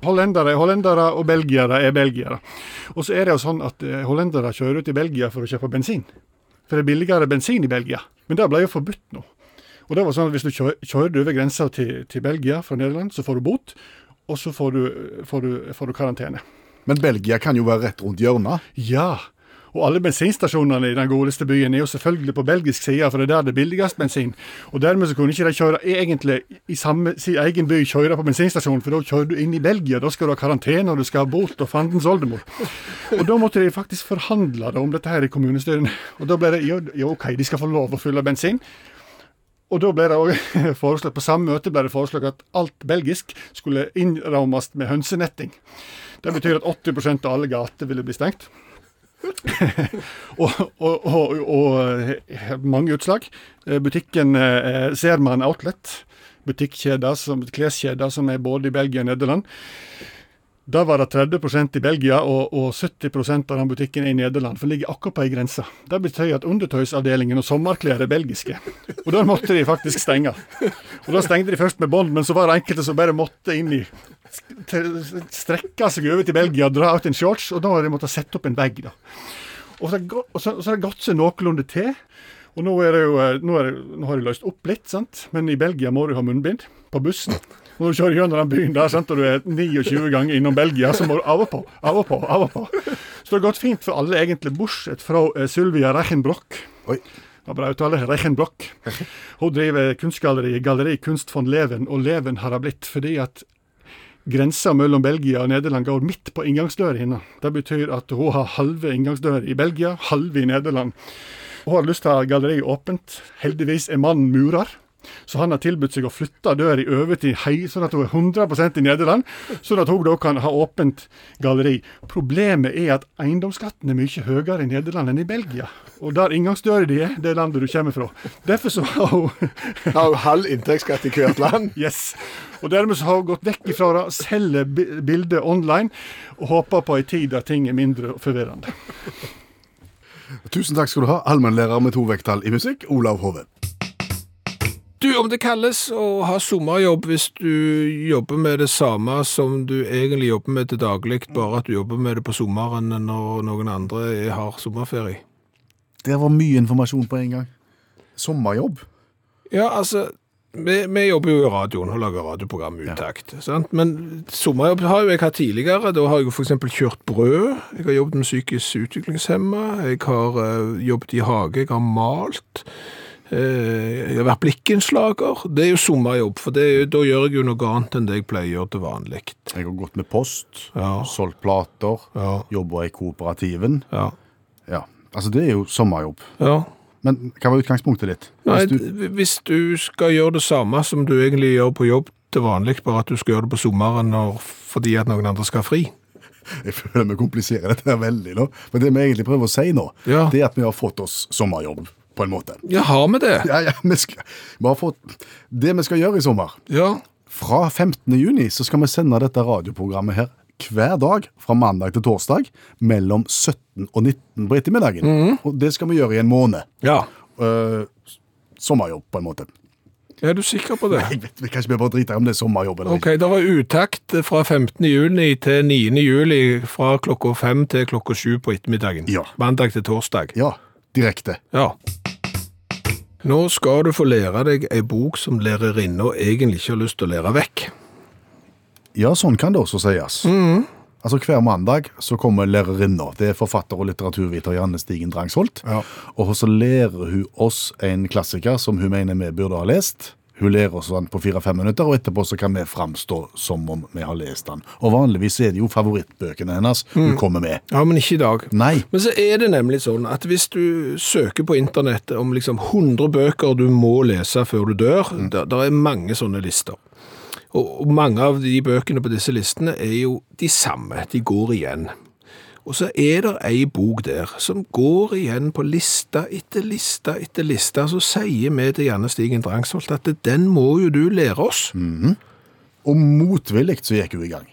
[SPEAKER 5] Hollendere er hollendere, og belgiere er belgiere. Og så er det jo sånn at eh, hollendere kjører ut i Belgia for å kjøpe bensin. For det er billigere bensin i Belgia. Men det ble jo forbudt nå. Og det var sånn at Hvis du kjø- kjører over grensa til, til Belgia fra Nederland, så får du bot, og så får du, får du, får du karantene.
[SPEAKER 3] Men Belgia kan jo være rett rundt hjørnet.
[SPEAKER 5] Ja, og alle bensinstasjonene i den godeste byen er jo selvfølgelig på belgisk side, for det er der det er billigst bensin. Og dermed så kunne ikke de kjøre egentlig i samme, sin egen by kjøre på bensinstasjonen, for da kjører du inn i Belgia, da skal du ha karantene, og du skal ha bot og fandens oldemor. Og da måtte de faktisk forhandle da, om dette her i kommunestyrene. Og da ble det jo, jo, OK, de skal få lov å fylle bensin. Og da ble det også [laughs] foreslått, På samme møte ble det foreslått at alt belgisk skulle innrammes med hønsenetting. Det betyr at 80 av alle gater ville bli stengt og, og, og, og mange utslag. Eh, Butikken eh, Serman Outlet, butikkjeder som, kleskjeder som er både i Belgia og Nederland. Da var det 30 i Belgia og, og 70 av den butikken er i Nederland, for det ligger akkurat på ei grense. Det betyr at undertøysavdelingen og sommerklær er belgiske. Og da måtte de faktisk stenge. Og da stengte de først med bånd, men så var det enkelte som bare måtte inn i st- Strekke seg over til Belgia og dra ut en shorts, og da har de måttet sette opp en bag, da. Og så, har det gå- og så, og så har det gått seg noenlunde til. Og nå, er det jo, eh, nå, er det, nå har de løst opp litt, sant? men i Belgia må du ha munnbind på bussen. Og Når du kjører gjennom den byen der, sant? og du er 29 ganger innom Belgia, så må du av og på, av og på, av og på. Så det har gått fint for alle, egentlig, bortsett fra eh, Sylvia Reichenbroch.
[SPEAKER 3] Oi.
[SPEAKER 5] Det var bra uttale. Reichenbroch. Hun driver kunstgalleriet Galleri Kunst von Leven, og Leven har det blitt fordi at Grensa mellom Belgia og Nederland går midt på inngangsdøra hennes. Det betyr at hun har halve inngangsdøra i Belgia, halve i Nederland. Hun har lyst til å ha galleriet åpent. Heldigvis er mannen murer. Så han har tilbudt seg å flytte døra i over til Hei, sånn at hun er 100 i Nederland. Sånn at hun da kan ha åpent galleri. Problemet er at eiendomsskatten er mye høyere i Nederland enn i Belgia. Og der inngangsdøra di er, det er landet du kommer fra. Derfor så har hun [laughs]
[SPEAKER 2] Har jo halv inntektsskatt i hvert land.
[SPEAKER 5] Yes. Og dermed så har hun gått vekk ifra det, selger bi- bildet online, og håper på ei tid der ting er mindre forvirrende.
[SPEAKER 3] Tusen takk skal du ha, allmennlærer med to vekttall i musikk, Olav Hove.
[SPEAKER 2] Du, om det kalles å ha sommerjobb hvis du jobber med det samme som du egentlig jobber med til daglig, bare at du jobber med det på sommeren når noen andre har sommerferie.
[SPEAKER 3] Det var mye informasjon på en gang. Sommerjobb.
[SPEAKER 2] Ja, altså, vi, vi jobber jo i radioen og lager radioprogram uttakt, sant? Men sommerjobb har jo jeg hatt tidligere. Da har jeg jo for eksempel kjørt brød, jeg har jobbet med psykisk utviklingshemma, jeg har eh, jobbet i hage, jeg har malt, eh, jeg har vært blikkenslager. Det er jo sommerjobb, for det, er jo- da gjør jeg jo noe annet enn det jeg pleier å gjøre til vanlig.
[SPEAKER 3] Jeg har gått med post,
[SPEAKER 2] Ja.
[SPEAKER 3] solgt plater,
[SPEAKER 2] Ja.
[SPEAKER 3] jobba i kooperativen.
[SPEAKER 2] Ja.
[SPEAKER 3] Ja. Altså, det er jo sommerjobb.
[SPEAKER 2] ja.
[SPEAKER 3] Men hva var utgangspunktet ditt?
[SPEAKER 2] Nei,
[SPEAKER 3] Hvis du,
[SPEAKER 2] d- hvis du skal gjøre det samme som du egentlig gjør på jobb til vanlig, bare at du skal gjøre det på sommeren når, fordi at noen andre skal ha fri.
[SPEAKER 3] jeg føler vi kompliserer dette her veldig nå. Men det vi egentlig prøver å si nå,
[SPEAKER 2] Ja.
[SPEAKER 3] det er at vi har fått oss sommerjobb, på en måte.
[SPEAKER 2] Ja, har vi det?
[SPEAKER 3] Ja, ja, vi skal, vi har fått, det vi skal gjøre i sommer,
[SPEAKER 2] Ja.
[SPEAKER 3] Fra 15. juni så skal vi sende dette radioprogrammet her hver dag fra mandag til torsdag mellom 17 og 19 på ettermiddagen. Og det skal vi gjøre i en måned.
[SPEAKER 2] Ja.
[SPEAKER 3] Eh, sommerjobb, på en måte.
[SPEAKER 2] Er du sikker på det?
[SPEAKER 3] Jeg vet vi kan ikke bare drite i om det er sommerjobb eller
[SPEAKER 2] Ok, det var utakt fra 15. juni til 9. juli fra klokka fem til klokka sju på ettermiddagen.
[SPEAKER 3] Ja.
[SPEAKER 2] Mandag til torsdag.
[SPEAKER 3] ikke. Ja, direkte.
[SPEAKER 2] Ja. Nå skal du få lære deg ei bok som lærerinna egentlig ikke har lyst til å lære vekk.
[SPEAKER 3] Ja, sånn kan det også sies. Altså Hver mandag så kommer lærerinna. Det er forfatter og litteraturviter Janne Stigen Drangsholt. Og så lærer hun oss en klassiker som hun mener vi burde ha lest. Hun lærer oss den på fire-fem minutter, og etterpå så kan vi framstå som om vi har lest den. Og vanligvis er det jo favorittbøkene hennes hun kommer med.
[SPEAKER 2] Ja, men ikke i dag.
[SPEAKER 3] Nei.
[SPEAKER 2] Men så er det nemlig sånn at hvis du søker på internett om liksom 100 bøker du må lese før du dør, der, der er mange sånne lister. Og, og mange av de bøkene på disse listene er jo de samme, de går igjen. Og så er det ei bok der som går igjen på lista etter lista etter lista. Så sier vi til Janne Stigen Drangsholt at den må jo du lære oss.
[SPEAKER 3] Og motvillig så gikk hun i gang.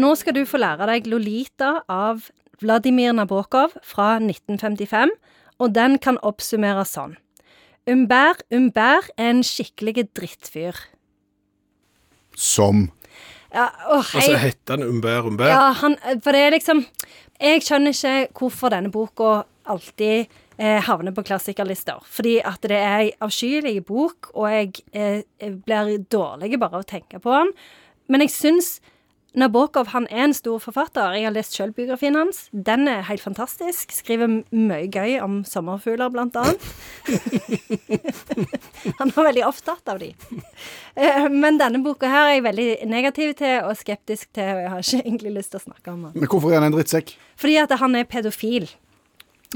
[SPEAKER 6] Nå skal du få lære deg Lolita av Vladimir Nabokov fra 1955, og den kan oppsummeres sånn. Umbær Umbær er en skikkelig drittfyr.
[SPEAKER 3] Som
[SPEAKER 6] Ja, å,
[SPEAKER 2] Og så
[SPEAKER 6] hei.
[SPEAKER 2] heter den Umbær Umbær.
[SPEAKER 6] Ja, han, for det er liksom Jeg skjønner ikke hvorfor denne boka alltid eh, havner på klassikerlister. Fordi at det er ei avskyelig bok, og jeg eh, blir dårlig bare av å tenke på den. Men jeg syns Nabokov han er en stor forfatter. Jeg har lest selv biografien hans. Den er helt fantastisk. Skriver m- mye gøy om sommerfugler, blant annet. [laughs] han var veldig opptatt av de. Eh, Men denne boka her er jeg veldig negativ til og skeptisk til, og jeg har ikke egentlig lyst til å snakke om den.
[SPEAKER 3] Men hvorfor er han en drittsekk?
[SPEAKER 6] Fordi at han er pedofil.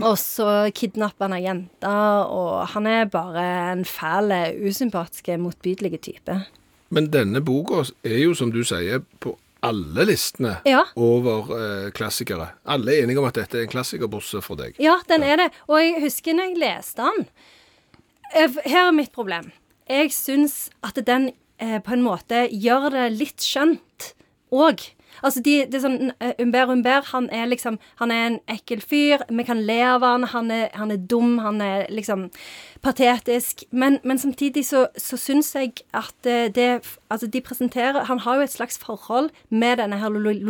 [SPEAKER 6] Og så kidnapper han ei jente, og han er bare en fæl, usympatisk, motbydelig type.
[SPEAKER 2] Men denne boka er jo, som du sier, på alle listene
[SPEAKER 6] Ja.
[SPEAKER 2] over eh, klassikere. Alle er enige om at dette er en klassiker, bortsett fra deg.
[SPEAKER 6] Ja, den er det. Og jeg husker når jeg leste den Eh, Her er mitt problem. Jeg syns at den eh, på en måte gjør det litt skjønt òg. Altså, de, det er sånn eh, Umbær Umbær, han er liksom Han er en ekkel fyr. Vi kan le av han. Han er, han er dum. Han er liksom patetisk. Men, men samtidig så, så syns jeg at eh, det Altså, de presenterer Han har jo et slags forhold med denne her Lol-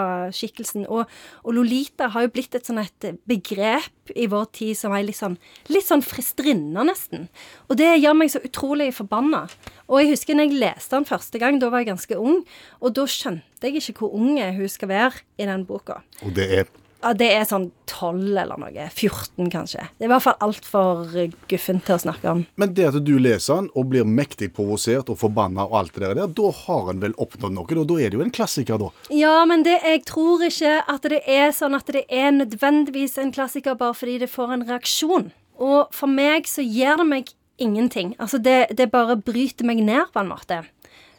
[SPEAKER 6] Lolita-skikkelsen. Og, og Lolita har jo blitt et sånn et begrep i vår tid som er litt sånn, litt sånn fristrinna, nesten. Og det gjør meg så utrolig forbanna. Og jeg husker når jeg leste den første gang, da var jeg ganske ung, og da skjønte jeg ikke hvor unge hun skal være i den boka.
[SPEAKER 3] Og det er
[SPEAKER 6] Ja, det er sånn 12 eller noe. 14, kanskje. Det er i hvert fall altfor guffent til å snakke om.
[SPEAKER 3] Men det at du leser den og blir mektig provosert og forbanna og alt det der, da har en vel oppnådd noe. Og da er det jo en klassiker, da.
[SPEAKER 6] Ja, men det, jeg tror ikke at det er sånn at det er nødvendigvis en klassiker bare fordi det får en reaksjon. Og for meg så gjør det meg ingenting. Altså, det, det bare bryter meg ned på en måte.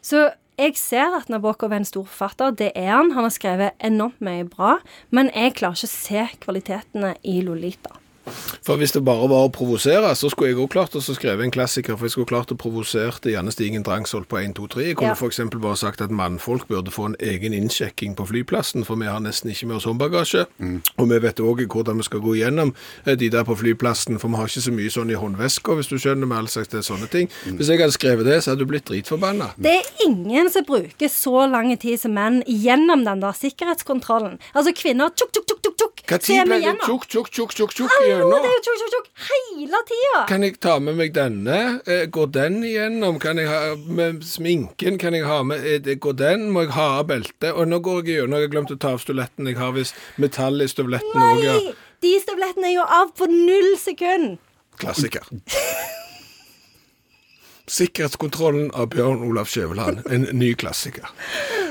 [SPEAKER 6] Så jeg ser at Nabokov er en stor forfatter. Det er han. Han har skrevet enormt mye bra. Men jeg klarer ikke å se kvalitetene i Lolita.
[SPEAKER 2] For hvis det bare var å provosere, så skulle jeg òg klart å skrive en klassiker. For jeg skulle klart å provosere Janne Stigen Drangsholt på 1, 2, 3. Jeg kunne
[SPEAKER 6] Ja.
[SPEAKER 2] for f.eks. bare sagt at mannfolk burde få en egen innsjekking på flyplassen, for vi har nesten ikke med oss håndbagasje. Og vi vet òg hvordan vi skal gå gjennom eh, de der på flyplassen, for vi har ikke så mye sånn i håndveska, hvis du skjønner, med all slags det er sånne ting. Hvis jeg hadde skrevet det, så hadde du blitt dritforbanna.
[SPEAKER 6] Det er ingen som bruker så lang tid som menn gjennom den der sikkerhetskontrollen. Altså kvinner tjukk, tjukk, tjukk, tjukk, tjukk.
[SPEAKER 2] Når
[SPEAKER 6] så er vi
[SPEAKER 2] ble det
[SPEAKER 6] gjennom.
[SPEAKER 2] tjukk, tjukk, tjukk, tjukk, tjukk
[SPEAKER 6] Hallo,
[SPEAKER 2] gjennom?
[SPEAKER 6] det er jo tjukk, tjukk, tjukk hele tida!
[SPEAKER 2] Kan jeg ta med meg denne? Eh, Går den igjennom? Kan jeg ha med sminken? Kan jeg ha med eh, det- Går den? Må jeg ha av beltet? Og nå går jeg gjennom. Jeg har glemt å ta av støvletten. Jeg har visst metall i støvletten òg. Ja.
[SPEAKER 6] Nei! De støvlettene er jo av på null sekund!
[SPEAKER 2] Klassiker. Sikkerhetskontrollen av Bjørn Olav Skjæveland. En ny klassiker.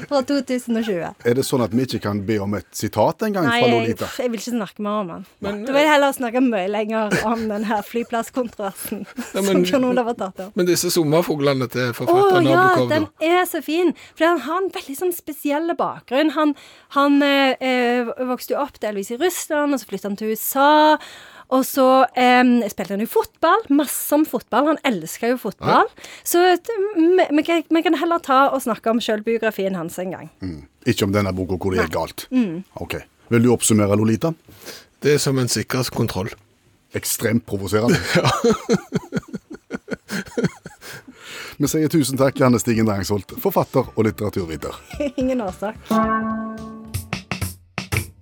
[SPEAKER 6] Fra 2020.
[SPEAKER 3] Er det sånn at vi ikke kan be om et sitat engang
[SPEAKER 6] Nei,
[SPEAKER 3] fra
[SPEAKER 6] jeg,
[SPEAKER 3] Lolita?
[SPEAKER 6] jeg vil ikke snakke mer om den.
[SPEAKER 2] Men-
[SPEAKER 6] da vil jeg heller snakke mye lenger om den her flyplasskontroversen
[SPEAKER 2] Ja,
[SPEAKER 6] som
[SPEAKER 2] men-
[SPEAKER 6] Bjørn Olav har tatt opp.
[SPEAKER 2] Men disse sommerfuglene til
[SPEAKER 6] Å
[SPEAKER 2] forfatteren
[SPEAKER 6] ja,
[SPEAKER 2] Nabokov
[SPEAKER 6] den
[SPEAKER 2] da.
[SPEAKER 6] er så fin. For han har en veldig sånn spesiell bakgrunn. Han, han eh, eh, vokste jo opp delvis i Russland, og så flytta han til USA. Og så eh, spilte han jo fotball. Masse om fotball. Han elsker jo fotball. Så et- vi- vi kan- vi kan heller ta og snakke om sjølbiografien hans en gang. [laughs]
[SPEAKER 3] Ikke om denne boka hvor det er galt. Ok. Vil du oppsummere Lolita?
[SPEAKER 2] Det er som en sikkerhetskontroll.
[SPEAKER 3] Ekstremt [laughs] provoserende. Vi sier tusen takk, Janne Stigen Drangsholt, forfatter og litteraturviter.
[SPEAKER 6] Ingen årsak.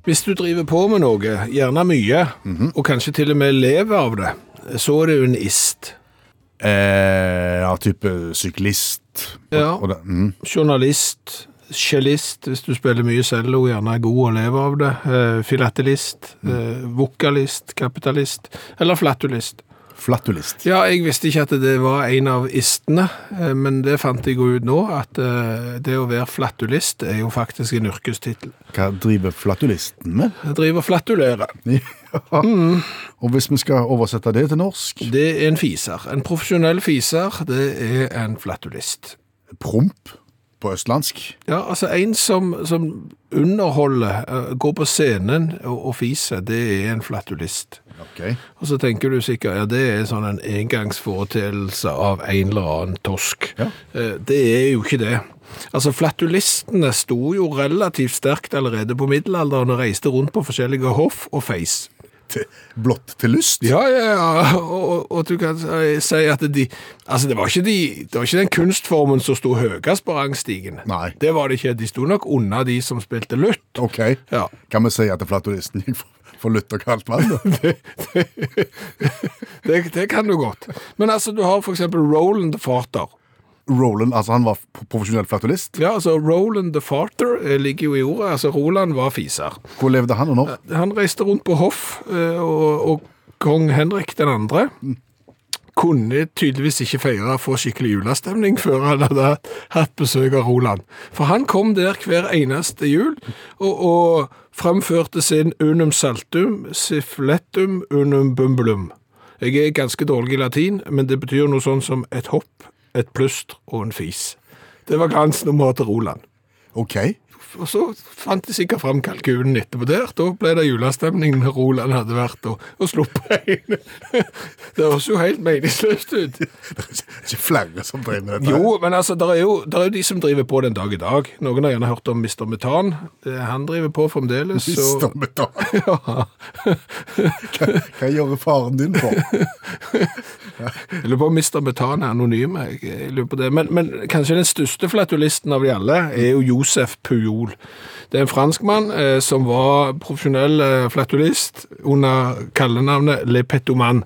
[SPEAKER 2] Hvis du driver på med noe, gjerne mye,
[SPEAKER 3] Mhm.
[SPEAKER 2] og kanskje til og med lever av det, så er det jo en ist.
[SPEAKER 3] Eh, ja, type syklist.
[SPEAKER 2] Ja.
[SPEAKER 3] Og det, mm.
[SPEAKER 2] Journalist, cellist, hvis du spiller mye cello, gjerne er god og lever av det. Eh, filatelist,
[SPEAKER 3] Mm.
[SPEAKER 2] eh, vokalist, kapitalist, eller flatulist.
[SPEAKER 3] Flatulist.
[SPEAKER 2] Ja, jeg visste ikke at det var en av istene, eh, men det fant jeg jo ut nå, at eh, det å være flatulist er jo faktisk en yrkestittel.
[SPEAKER 3] Hva driver flatulisten med?
[SPEAKER 2] Jeg driver og flatulerer.
[SPEAKER 3] [laughs] Ja.
[SPEAKER 2] Mm.
[SPEAKER 3] Og hvis vi skal oversette det til norsk
[SPEAKER 2] Det er en fiser. En profesjonell fiser, det er en flatulist.
[SPEAKER 3] Promp på østlandsk.
[SPEAKER 2] Ja, altså en som, som underholder, eh, går på scenen og, og fiser, det er en flatulist.
[SPEAKER 3] Ok.
[SPEAKER 2] Og så tenker du sikkert, ja det er sånn en engangsforeteelse av en eller annen tosk.
[SPEAKER 3] Ja.
[SPEAKER 2] Eh, Det er jo ikke det. Altså, flatulistene sto jo relativt sterkt allerede på middelalderen og reiste rundt på forskjellige hoff og feis.
[SPEAKER 3] Til, blått til lyst?
[SPEAKER 2] Ja, ja, ja, og, og, og du kan si- si at de Altså, det var ikke, de, det var ikke den kunstformen som sto høyest på rangstigen.
[SPEAKER 3] Nei.
[SPEAKER 2] Det var det ikke. De sto nok unna de som spilte lutt.
[SPEAKER 3] Ok.
[SPEAKER 2] [laughs] Ja.
[SPEAKER 3] Kan vi si at flatulisten gikk for, for lutt og kaldt vann? da?
[SPEAKER 2] Det, det kan du godt. Men altså, du har for eksempel Roland the Farter.
[SPEAKER 3] Roland, altså han var p- profesjonell flatulist.
[SPEAKER 2] Ja, altså, Roland the Farter eh, ligger jo i ordet. Altså, Roland var fiser.
[SPEAKER 3] Hvor levde han og når?
[SPEAKER 2] Eh, Han reiste rundt på hoff, eh, og, og kong Henrik den andre kunne tydeligvis ikke feire for skikkelig julestemning før han hadde hatt besøk av Roland. For han kom der hver eneste jul og, og framførte sin unum saltum, sifletum unum bumbulum. Jeg er ganske dårlig i latin, men det betyr noe sånn som et hopp, et plust og en fis. Det var glansnummeret til Roland.
[SPEAKER 3] Ok. [laughs]
[SPEAKER 2] Og så fant de sikkert fram kalkunen etterpå der. Da ble det julestemning når Roland hadde vært og, og sluppet [laughs] inn. Det høres jo helt meningsløst ut.
[SPEAKER 3] Ikke flere som drev med dette.
[SPEAKER 2] Jo, men altså, det er jo, der er jo de som driver på den dag i dag. Noen har gjerne hørt om Mr. Metan. Det han driver på fremdeles. Så, [laughs]
[SPEAKER 3] Stammetak. Hva, hva gjør faren din
[SPEAKER 2] [laughs]
[SPEAKER 3] for?
[SPEAKER 2] jeg lurer på om Mr. Metan er anonym. Jeg, jeg lurer på det. Men, men kanskje den største flatulisten av de alle er jo Josef Pujol. Det er en franskmann eh, som var profesjonell eh, flatulist under kallenavnet Le Petoman.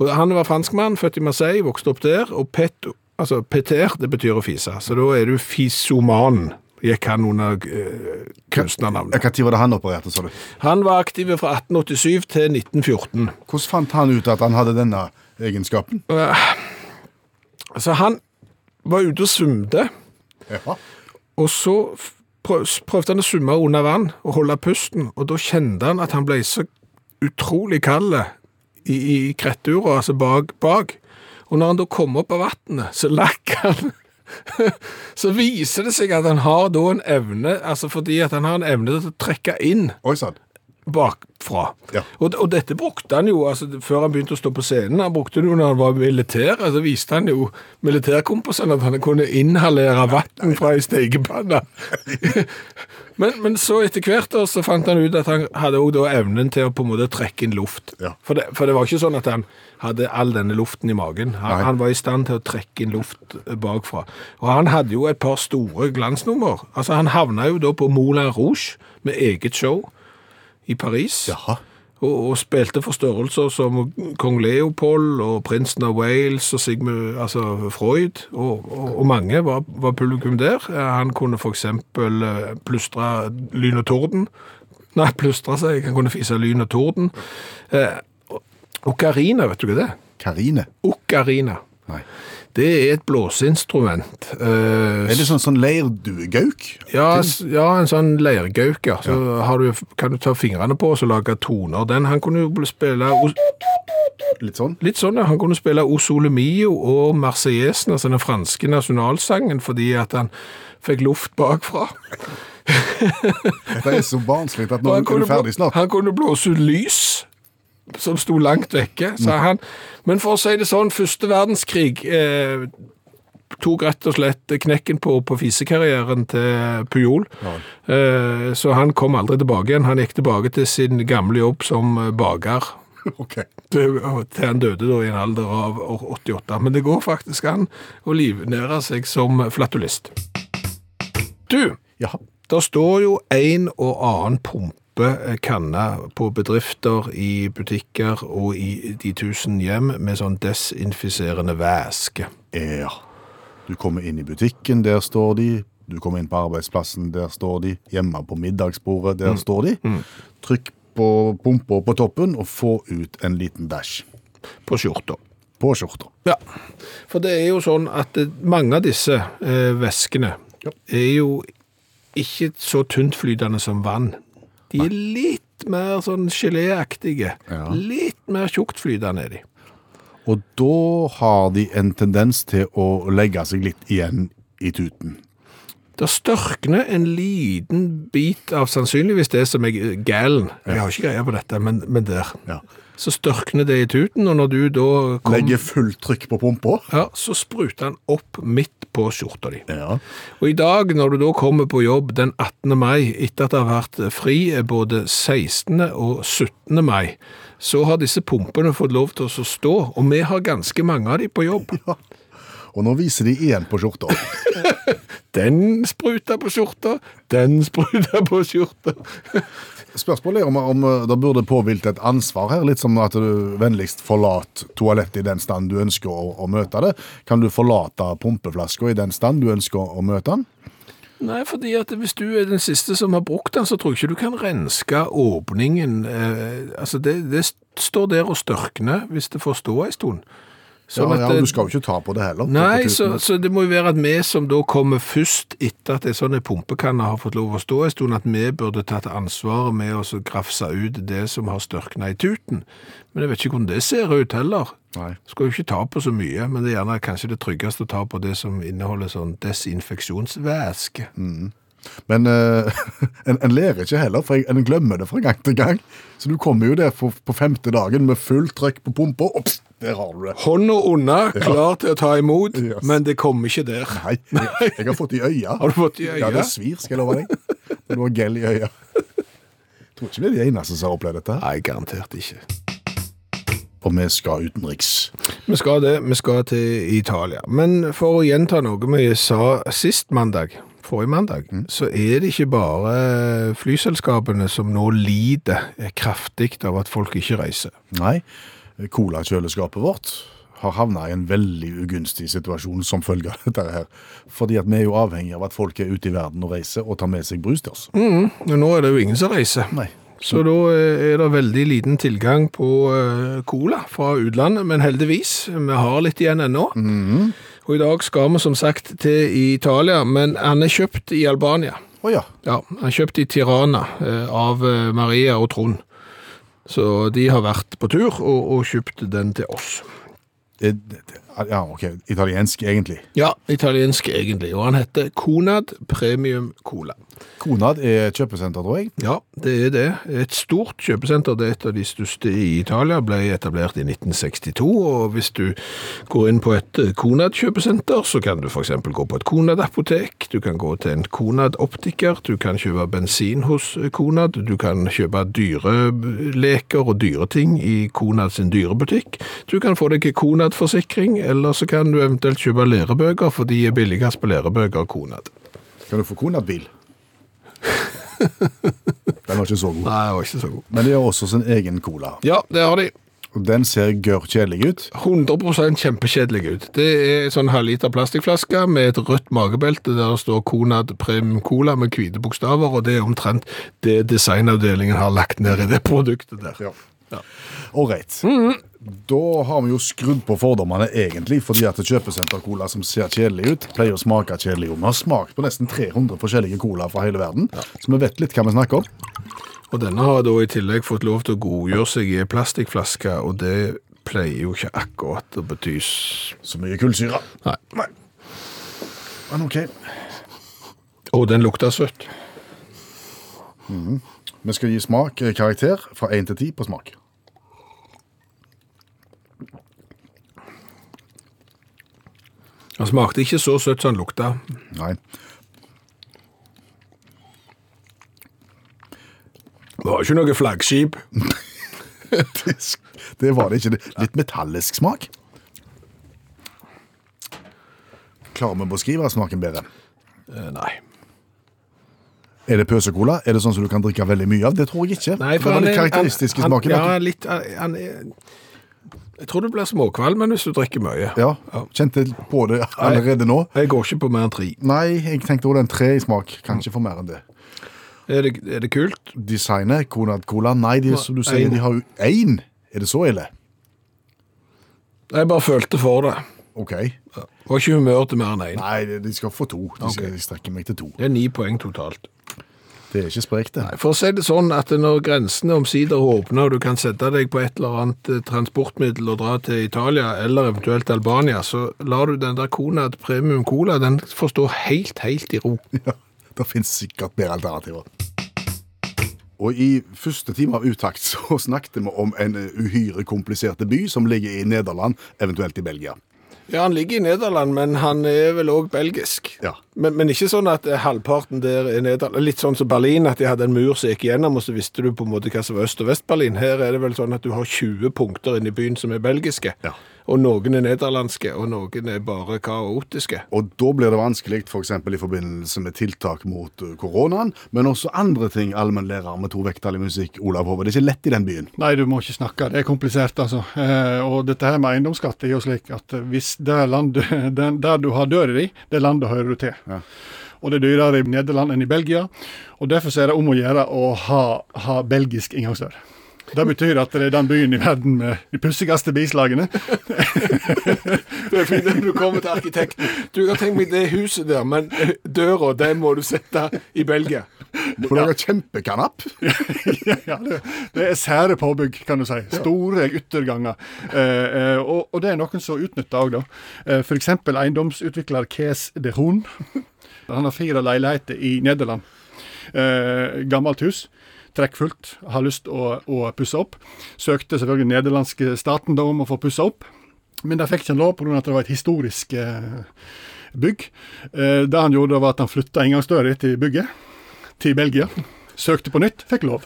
[SPEAKER 2] Og han var franskmann, født i Marseille, vokste opp der. Og pet, altså, peter, det betyr å fise. Så da er du fisoman, gikk han under eh, kunstnernavnet.
[SPEAKER 3] Når var det han opererte, sa du?
[SPEAKER 2] Han var aktiv fra 1887 til 1914.
[SPEAKER 3] Hvordan fant han ut at han hadde denne egenskapen?
[SPEAKER 2] Altså, han var ute og svømte,
[SPEAKER 3] Ja.
[SPEAKER 2] og så f- prøv- prøvde han å svømme under vann og holde pusten, og da kjente han at han ble så utrolig kald i, i krettura, altså bak, bak. Og når han da kom opp av vannet, så lakk han. [laughs] så viser det seg at han har da en evne, altså fordi at han har en evne til å trekke inn
[SPEAKER 3] Oi sann.
[SPEAKER 2] bakfra.
[SPEAKER 3] Ja.
[SPEAKER 2] Og, og dette brukte han jo altså, før han begynte å stå på scenen. Han brukte det jo når han var militær. altså viste han jo militærkompisene at han kunne inhalere vann fra ei stekepanne. [laughs] men, men så etter hvert da, så fant han ut at han hadde også da evnen til å på en måte trekke inn luft.
[SPEAKER 3] Ja.
[SPEAKER 2] For, det, for det var ikke sånn at han hadde all denne luften i magen.
[SPEAKER 3] Nei.
[SPEAKER 2] Han, han var i stand til å trekke inn luft eh, bakfra. Og han hadde jo et par store glansnummer. Altså Han havna jo da på Moulin Rouge med eget show i Paris,
[SPEAKER 3] Jaha.
[SPEAKER 2] og, og spilte for størrelser som kong Leopold og prinsen av Wales og Sigmund, altså Freud, og, og, og mange var, var publikum der. Eh, Han kunne for eksempel eh, plystre lyn og torden. Nei, plystre seg, han kunne fise lyn og torden. Eh, og- okarina, vet du hva det er?
[SPEAKER 3] Karine.
[SPEAKER 2] Okarina.
[SPEAKER 3] Nei.
[SPEAKER 2] Det er et blåseinstrument. Eh,
[SPEAKER 3] Er det sånn, sånn leirduegauk?
[SPEAKER 2] ja, s- ja, en sånn leirgauk, ja. Så har du, kan du ta fingrene på og så lage toner. Den, han kunne jo bl- spille os-
[SPEAKER 3] Litt sånn?
[SPEAKER 2] litt sånn, ja. Han kunne spille O Sole Mio og Marseillesen, altså den franske nasjonalsangen, fordi at han fikk luft bakfra.
[SPEAKER 3] Det er så barnslig at
[SPEAKER 2] Og
[SPEAKER 3] nå
[SPEAKER 2] han
[SPEAKER 3] er
[SPEAKER 2] kunne
[SPEAKER 3] du ferdig
[SPEAKER 2] blå-
[SPEAKER 3] snart. [laughs]
[SPEAKER 2] Han kunne blåse ut lys som sto langt vekke,
[SPEAKER 3] Mm.
[SPEAKER 2] sa han. Men for å si det sånn, første verdenskrig eh, tok rett og slett knekken på, på fisekarrieren til Pujol. Eh, så han kom aldri tilbake igjen. Han gikk tilbake til sin gamle jobb som eh, baker.
[SPEAKER 3] Ok.
[SPEAKER 2] Til til han døde da i en alder av år 88. Men det går faktisk an å livnære seg som flatulist. Du,
[SPEAKER 3] Jaha.
[SPEAKER 2] der står jo en og annen pumpekanne på bedrifter, i butikker og i de tusen hjem med sånn desinfiserende væske.
[SPEAKER 3] Ja. Du kommer inn i butikken, der står de. Du kommer inn på arbeidsplassen, der står de. Hjemme på middagsbordet, der står de. Trykk på pumpa på toppen og få ut en liten dash
[SPEAKER 2] På skjorta.
[SPEAKER 3] på skjorta.
[SPEAKER 2] Ja, for det er jo sånn at eh, mange av disse eh, væskene er jo ikke så tyntflytende som vann. De er litt mer sånn geléaktige.
[SPEAKER 3] Ja.
[SPEAKER 2] Litt mer tjuktflytende er de.
[SPEAKER 3] Og da har de en tendens til å legge seg litt igjen i tuten.
[SPEAKER 2] Det størkner en liten bit av sannsynligvis det som er galen. Jeg har ikke greie på dette, men, men der.
[SPEAKER 3] Ja.
[SPEAKER 2] Så størkner det i tuten, og når du da kom,
[SPEAKER 3] Legger fullt trykk på pumpa.
[SPEAKER 2] ja, så spruter han opp midt på skjorta di.
[SPEAKER 3] Ja.
[SPEAKER 2] Og i dag, når du da kommer på jobb den 18. mai, etter at det har vært fri både 16. og 17. mai, så har disse pumpene fått lov til å stå, og vi har ganske mange av de på [laughs] jobb.
[SPEAKER 3] Og nå viser de igjen på skjorta.
[SPEAKER 2] Den spruta på skjorta, den [laughs] spruta på skjorta.
[SPEAKER 3] Spørsmålet er om, om eh, det burde påhvilt et ansvar her, litt som at du vennligst forlater toalettet i den stand du ønsker å, å møte det. Kan du forlate pumpeflaska i den stand du ønsker å møte den?
[SPEAKER 2] Nei, fordi at hvis du er den siste som har brukt den, så tror jeg ikke du kan renske åpningen. Eh, altså, det, det står der og størkner hvis det får stå en stund.
[SPEAKER 3] Ja,
[SPEAKER 2] Sånn at
[SPEAKER 3] ja,
[SPEAKER 2] det-
[SPEAKER 3] du skal jo ikke ta på det heller.
[SPEAKER 2] Nei,
[SPEAKER 3] på
[SPEAKER 2] så,
[SPEAKER 3] tuten.
[SPEAKER 2] så det må jo være at vi som da kommer først etter at en sånn en pumpekanne har fått lov å stå en stund, at vi burde tatt ansvaret med å så grafse ut det som har størkna i tuten. Men jeg vet ikke hvordan det ser ut heller.
[SPEAKER 3] Nei.
[SPEAKER 2] Skal jo ikke ta på så mye, men det er gjerne kanskje det tryggeste å ta på det som inneholder sånn desinfeksjonsvæske.
[SPEAKER 3] Men eh, [laughs] en, en ler ikke heller, for jeg- en glemmer det fra gang til gang. Så du kommer jo der på, på femte dagen med fullt trøkk på pumpa, og pst, der har du det.
[SPEAKER 2] Hånda unna, klar til å ta imot, men det kommer ikke der.
[SPEAKER 3] Nei, jeg, jeg har fått i øya.
[SPEAKER 2] Har du fått i øya?
[SPEAKER 3] Ja, det svir, skal jeg love deg. Du har gel i øya. Jeg tror ikke vi er de eneste som har opplevd dette. her.
[SPEAKER 2] Nei, garantert ikke.
[SPEAKER 3] Og vi skal utenriks.
[SPEAKER 2] Vi skal det. Vi skal til Italia. Men for å gjenta noe vi sa sist mandag, forrige mandag, så er det ikke bare flyselskapene som nå lider kraftig av at folk ikke reiser.
[SPEAKER 3] Nei, colakjøleskapet vårt har havna i en veldig ugunstig situasjon som følge av dette her. Fordi at vi er jo avhengig av at folk er ute i verden og reiser og tar med seg brus til oss.
[SPEAKER 2] Mm. Og nå er det jo ingen som reiser.
[SPEAKER 3] Nei.
[SPEAKER 2] Så da eh, er det veldig liten tilgang på eh, cola fra utlandet, men heldigvis, vi har litt igjen ennå. Og i dag skal vi som sagt til Italia, men han er kjøpt i Albania.
[SPEAKER 3] Å ja.
[SPEAKER 2] Ja, han kjøpte i Tirana eh, av eh, Maria og Trond. Så de har vært på tur og, og kjøpt den til oss.
[SPEAKER 3] Det, det, det- ja, ok. Italiensk, egentlig.
[SPEAKER 2] Ja, italiensk egentlig, og han heter Conad Premium Cola.
[SPEAKER 3] Konad er kjøpesenter, tror jeg.
[SPEAKER 2] Ja, det er det. Et stort kjøpesenter, det er et av de største i Italia, ble etablert i 1962, og hvis du går inn på et Conad-kjøpesenter, så kan du for eksempel gå på et Conad-apotek, du kan gå til en Conad-optiker, du kan kjøpe bensin hos Conad, du kan kjøpe dyreleker og dyreting i Conad sin dyrebutikk, du kan få deg Conad-forsikring, eller så kan du eventuelt kjøpe lærebøker, for de er billigst på lærebøker av Conad.
[SPEAKER 3] Kan du få
[SPEAKER 2] [laughs]
[SPEAKER 3] Konad-bil? Den var ikke så god.
[SPEAKER 2] Nei, det var ikke så god.
[SPEAKER 3] Men de har også sin egen cola.
[SPEAKER 2] Ja, det har de.
[SPEAKER 3] Og den ser gørr kjedelig ut.
[SPEAKER 2] 100 kjempekjedelig ut. Det er en sånn halvliter plastikkflaske med et rødt magebelte der det står Conad Prem Cola med hvite bokstaver, og det er omtrent det designavdelingen har lagt ned i det produktet der.
[SPEAKER 3] Ålreit. Da har vi jo skrudd på fordommene, egentlig, fordi at kjøpesenter-cola som ser kjedelig ut, pleier å smake kjedelig. Og Vi har smakt på nesten 300 forskjellige cola fra hele verden, så vi vet litt hva vi snakker om.
[SPEAKER 2] Og denne har da i tillegg fått lov til å godgjøre seg i en plastikkflaske, og det pleier jo ikke akkurat å bety s-
[SPEAKER 3] Så mye kullsyre.
[SPEAKER 2] Nei.
[SPEAKER 3] Men OK,
[SPEAKER 2] Og den lukter søtt.
[SPEAKER 3] vi skal gi smak eh, karakter fra 1 til 10 på smak.
[SPEAKER 2] Den smakte ikke så søtt som den lukta.
[SPEAKER 3] [laughs] Nei.
[SPEAKER 2] Det var ikke noe flaggskip.
[SPEAKER 3] Det sk- Det var det ikke. Det- Litt metallisk smak. Klarer vi å beskrive smaken bedre?
[SPEAKER 2] Eh, Nei.
[SPEAKER 3] Er det pøsekola? Er det sånn som du kan drikke veldig mye av? Det tror jeg ikke.
[SPEAKER 2] Nei, for
[SPEAKER 3] det var
[SPEAKER 2] han
[SPEAKER 3] det
[SPEAKER 2] er-
[SPEAKER 3] karakteristiske
[SPEAKER 2] han-
[SPEAKER 3] smaken.
[SPEAKER 2] Ja, litt, eh, han er, jeg tror du blir småkvalm hvis du drikker mye.
[SPEAKER 3] Ja, kjente på det allerede nå.
[SPEAKER 2] Jeg går ikke på mer enn tre.
[SPEAKER 3] Nei, jeg tenkte også den tre i smak. Kanskje for mer enn det.
[SPEAKER 2] Er det, er det kult?
[SPEAKER 3] Designet, Konad Cola, nei, de, som du sier,
[SPEAKER 2] en.
[SPEAKER 3] de har jo én. Er det så ille?
[SPEAKER 2] Jeg bare følte for det.
[SPEAKER 3] OK.
[SPEAKER 2] Var ikke i humør til mer enn én.
[SPEAKER 3] Nei, de skal få to. De skal, jeg strekker meg til to.
[SPEAKER 2] Det er ni poeng totalt.
[SPEAKER 3] Det er ikke sprekt, det.
[SPEAKER 2] Nei, For å si det sånn at når grensene omsider åpner, og du kan sette deg på et eller annet eh, transportmiddel og dra til Italia, eller eventuelt Albania, så lar du den der Conad Premium Cola, den får stå helt, helt i ro.
[SPEAKER 3] [laughs] Ja, det finnes sikkert mer alternativer. Og i første time av Utakt så snakket vi om en uhyre kompliserte by som ligger i Nederland, eventuelt i Belgia.
[SPEAKER 2] Ja, han ligger i Nederland, men han er vel òg belgisk.
[SPEAKER 3] Ja.
[SPEAKER 2] Men, men ikke sånn at eh, halvparten der er Nederland. Litt sånn som Berlin, at de hadde en mur som gikk gjennom, og så visste du på en måte hva som var Øst- og Vest-Berlin. Her er det vel sånn at du har 20 punkter inne i byen som er belgiske.
[SPEAKER 3] Ja.
[SPEAKER 2] Og noen er nederlandske, og noen er bare kaotiske.
[SPEAKER 3] Og da blir det vanskelig f.eks. i forbindelse med tiltak mot eh, koronaen, men også andre ting. Allmennlærer med to vekttall i musikk, Olav Hove. Det er ikke lett i den byen.
[SPEAKER 5] Nei, du må ikke snakke. Det er komplisert, altså. Eh, og dette her med eiendomsskatt er jo slik at hvis det landet, [laughs] den, der du har døra di, det landet hører du til. Og det er dyrere i Nederland enn i Belgia. Og derfor så er det om å gjøre å ha, ha belgisk inngangsdør. Det betyr at det er den byen i verden med de pussigste bislagene.
[SPEAKER 2] Det er fint at du kommer til arkitekten. Du kan tenke meg det huset der, men eh, døra, den må du sette i Belgia.
[SPEAKER 3] For dere har kjempekanapp.
[SPEAKER 5] ja, det, det er sære påbygg, kan du si. Store ytterganger. Eh, eh, og, og det er noen som utnytter òg, da. Eh, F.eks. eiendomsutvikler Kees de Hoen. Han har fire leiligheter i Nederland. Eh, gammelt hus. Trekkfullt. Har lyst å, å pusse opp. Søkte selvfølgelig den nederlandske staten da om å få pussa opp, men det fikk ikke han lov pga. at det var et historisk eh, bygg. Eh, det han gjorde, var at han flytta inngangsdøra til bygget, til Belgia. Søkte på nytt, fikk lov.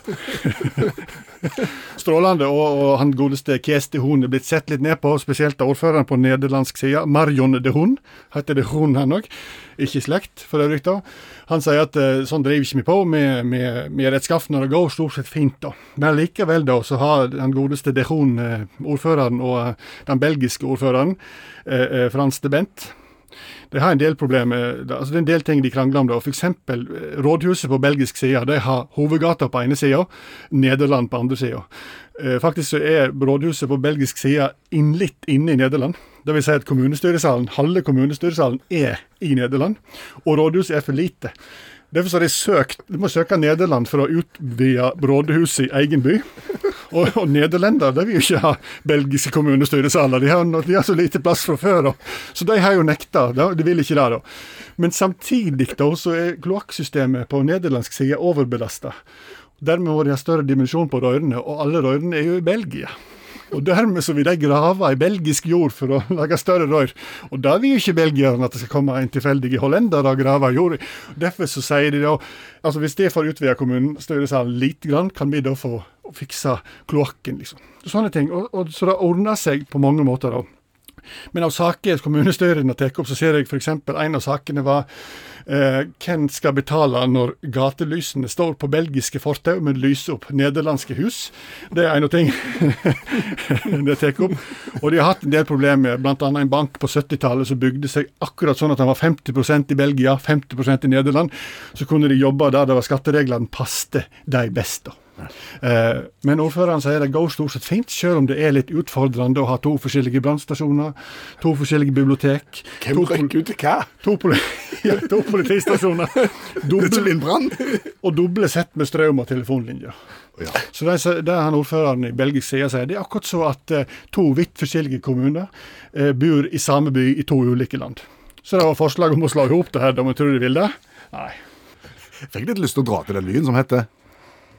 [SPEAKER 5] Strålende. Og, og han godeste Kies de Hoen er blitt sett litt ned på, spesielt av ordføreren på nederlandsk side. Marion de Hoen heter de Hoen, han òg. Ikke i slekt, for øvrig. da. Han sier at eh, sånn driver ikke vi på, vi vi- vi er rettskafne, og det går stort sett fint, da. Men likevel, da, så har den godeste de Hoen, eh, ordføreren, og eh, den belgiske ordføreren, eh, eh, Frans de Bent de har en del problemer, da- altså det er en del ting de krangler om. da, F.eks. eh, rådhuset på belgisk side. De har hovedgata på ene sida, Nederland på andre sida. Eh, Faktisk så er rådhuset på belgisk side inn litt inne i Nederland. Det vil si at kommunestyresalen, halve kommunestyresalen er i Nederland, og rådhuset er for lite. Derfor så har de søkt, de må søke Nederland for å utvide rådhuset i egen by. Og, og nederlendere de vil jo ikke ha belgiske kommunestyresaler. De har, de har så lite plass fra før. Da. Så de har jo nekta. da. De vil ikke det. da. Men samtidig da, så er kloakksystemet på nederlandsk side overbelasta. Dermed må de ha større dimensjon på rørene, og alle rørene er jo i Belgia. Og dermed så vil de grave i belgisk jord for å [laughs] lage større rør. Og da vil jo ikke belgierne at det skal komme en tilfeldig hollender og grave i jord. Derfor så sier de da altså hvis det får utvide kommunestyresalen lite grann, kan vi da få fikse kloakken, liksom. Sånne ting. Og, og, så det ordner seg på mange måter, da. Men av saker kommunestyrene tar opp, så ser jeg f.eks. en av sakene var eh, hvem skal betale når gatelysene står på belgiske fortau, men lyser opp nederlandske hus. Det er en av ting [laughs] de tar opp. Og de har hatt en del problemer, bl.a. en bank på 70-tallet som bygde seg akkurat sånn at den var 50 i Belgia, 50 i Nederland. Så kunne de jobbe der det var skattereglene passte de best. da. Eh, Men ordføreren sier det går stort sett fint, selv om det er litt utfordrende å ha to forskjellige brannstasjoner, to forskjellige bibliotek,
[SPEAKER 2] Hvem
[SPEAKER 5] to, pol
[SPEAKER 2] rykker ut til hva?
[SPEAKER 5] to, poli [laughs] ja, to politistasjoner doble,
[SPEAKER 3] Lindbrann.
[SPEAKER 5] og doble sett med strøm og telefonlinjer.
[SPEAKER 3] Ja.
[SPEAKER 5] Så det, sier- det han ordføreren i Belgisk side sier, det er akkurat så at eh, to vidt forskjellige kommuner eh, bor i samme by i to ulike land. Så det var forslag om å slå i hop det her, da, men tror du de vil det? Nei.
[SPEAKER 3] Fikk litt lyst til å dra til den byen som heter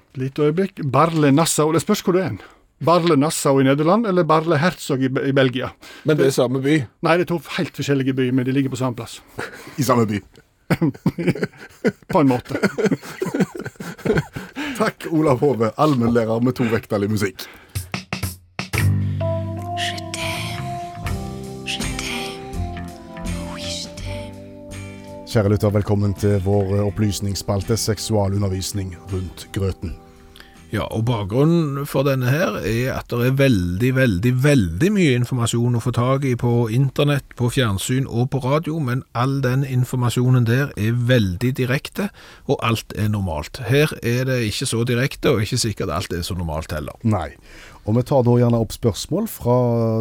[SPEAKER 5] Et lite øyeblikk. Barle Nassau. Det spørs hvor du er. hen. Barle Nassau i Nederland eller Barle Herzog i, Be- i Belgia?
[SPEAKER 2] Men det er samme by.
[SPEAKER 5] Nei, det er to helt forskjellige byer, men de ligger på samme plass.
[SPEAKER 3] i samme by.
[SPEAKER 5] På en måte.
[SPEAKER 3] Takk, Olav Hove, allmennlærer med to vekttall i musikk. Kjære lytter, velkommen til vår opplysningsspalte seksualundervisning rundt grøten.
[SPEAKER 2] Ja, og bakgrunnen for denne her er at det er veldig, veldig, veldig mye informasjon å få tak i på internett, på fjernsyn og på radio, men all den informasjonen der er veldig direkte, og alt er normalt. Her er det ikke så direkte, og ikke sikkert alt er så normalt heller.
[SPEAKER 3] Nei. Og vi tar da gjerne opp spørsmål fra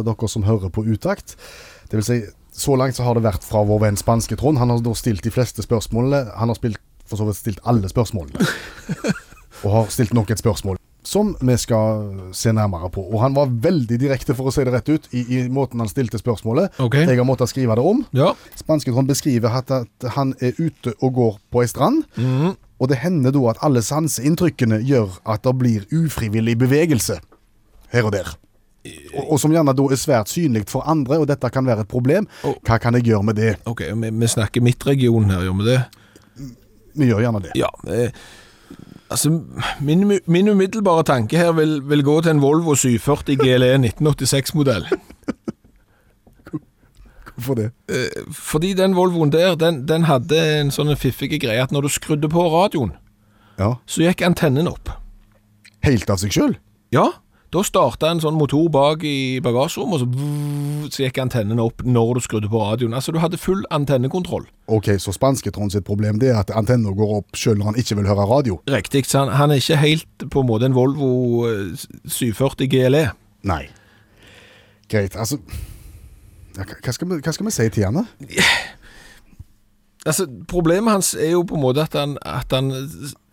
[SPEAKER 3] dere som hører på Utakt. Det vil si, så langt så har det vært fra vår venn spanske Trond. Han har da stilt de fleste spørsmålene. Han har spilt for så vidt stilt alle spørsmålene. Og har stilt nok et spørsmål som vi skal se nærmere på. Og han var veldig direkte, for å si det rett ut, i, i måten han stilte spørsmålet.
[SPEAKER 2] Ok.
[SPEAKER 3] Jeg har måttet skrive det om.
[SPEAKER 2] Ja.
[SPEAKER 3] Spansketroll beskriver at, at han er ute og går på ei strand. Og det hender da at alle sanseinntrykkene gjør at det blir ufrivillig bevegelse her og der. Og, og som gjerne da er svært synlig for andre, og dette kan være et problem. Hva kan jeg gjøre med det?
[SPEAKER 2] Ok, vi, vi snakker midtregion her, gjør vi det?
[SPEAKER 3] Vi gjør gjerne det.
[SPEAKER 2] Ja. Eh, altså, min, min umiddelbare tanke her vil, vil gå til en Volvo 740 GLE 1986-modell.
[SPEAKER 3] Hvorfor det?
[SPEAKER 2] Fordi den Volvoen der, den, den hadde en sånn fiffig greie at når du skrudde på radioen,
[SPEAKER 3] Ja.
[SPEAKER 2] så gikk antennen opp.
[SPEAKER 3] Helt av seg sjøl?
[SPEAKER 2] Ja, da starta en sånn motor bak i bagasjerommet, og så, vvv, så gikk antennen opp når du skrudde på radioen. Altså, du hadde full antennekontroll.
[SPEAKER 3] Ok, så spansketroll sitt problem det er at antenna går opp sjøl når han ikke vil høre radio?
[SPEAKER 2] Riktig, så han, han er ikke helt på en måte en Volvo eh, 740 GLE.
[SPEAKER 3] Nei. Greit, altså ja, hva- hva, skal vi, hva skal vi si til henne?
[SPEAKER 2] Altså, Problemet hans er jo på en måte at han, at han,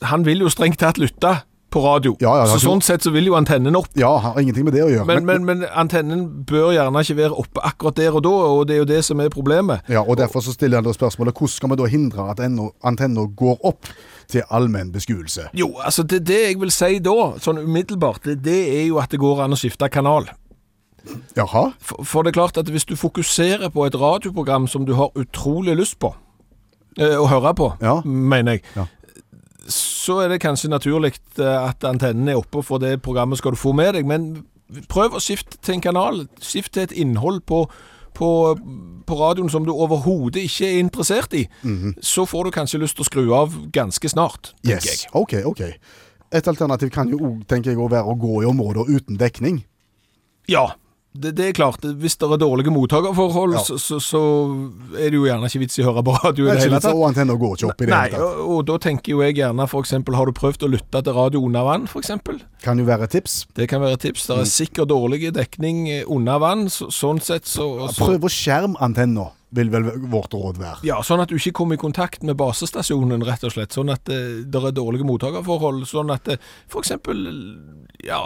[SPEAKER 2] han vil jo strengt tatt lytte på radio.
[SPEAKER 3] Ja, ja, ja.
[SPEAKER 2] så Sånn sett så vil jo antennen opp.
[SPEAKER 3] Ja, har ingenting med det å gjøre.
[SPEAKER 2] Men, men, men antennen bør gjerne ikke være oppe akkurat der og da, og det er jo det som er problemet.
[SPEAKER 3] Ja, og Derfor så stiller han da spørsmålet hvordan skal vi da hindre at ennå- antenna går opp til allmenn beskuelse?
[SPEAKER 2] Jo, altså det, det jeg vil si da, sånn umiddelbart, det, det er jo at det går an å skifte kanal.
[SPEAKER 3] Jaha?
[SPEAKER 2] For, for det er klart at hvis du fokuserer på et radioprogram som du har utrolig lyst på, eh, å høre på,
[SPEAKER 3] Ja.
[SPEAKER 2] mener jeg,
[SPEAKER 3] Ja.
[SPEAKER 2] så er det kanskje naturlig eh, at antennen er oppe, for det programmet skal du få med deg. Men prøv å skifte til en kanal. Skift til et innhold på, på, på radioen som du overhodet ikke er interessert i. Så får du kanskje lyst til å skru av ganske snart, tenker
[SPEAKER 3] Mhm. Yes.
[SPEAKER 2] jeg.
[SPEAKER 3] OK, OK. Et alternativ kan jo òg, tenker jeg, å være å gå i områder uten dekning.
[SPEAKER 2] Ja. Det, det er klart, hvis det er dårlige mottakerforhold,
[SPEAKER 3] Ja.
[SPEAKER 2] så, så, så er det jo gjerne ikke vits i å høre på radio i det
[SPEAKER 3] Det er ikke
[SPEAKER 2] hele
[SPEAKER 3] litt
[SPEAKER 2] tatt.
[SPEAKER 3] så antenna går ikke opp i det
[SPEAKER 2] Nei,
[SPEAKER 3] hele tatt.
[SPEAKER 2] og, og da tenker jo jeg gjerne for eksempel, har du prøvd å lytte til radio under vann, for eksempel?
[SPEAKER 3] Kan jo være et tips.
[SPEAKER 2] Det kan være et tips. Det er sikkert dårlig dekning eh, under vann, så, sånn sett så, så
[SPEAKER 3] Prøv å skjerme antenna, vil vel vårt råd være.
[SPEAKER 2] ja, Sånn at du ikke kommer i kontakt med basestasjonen, rett og slett. Sånn at eh, det er dårlige mottakerforhold. Sånn at eh, for eksempel, ja,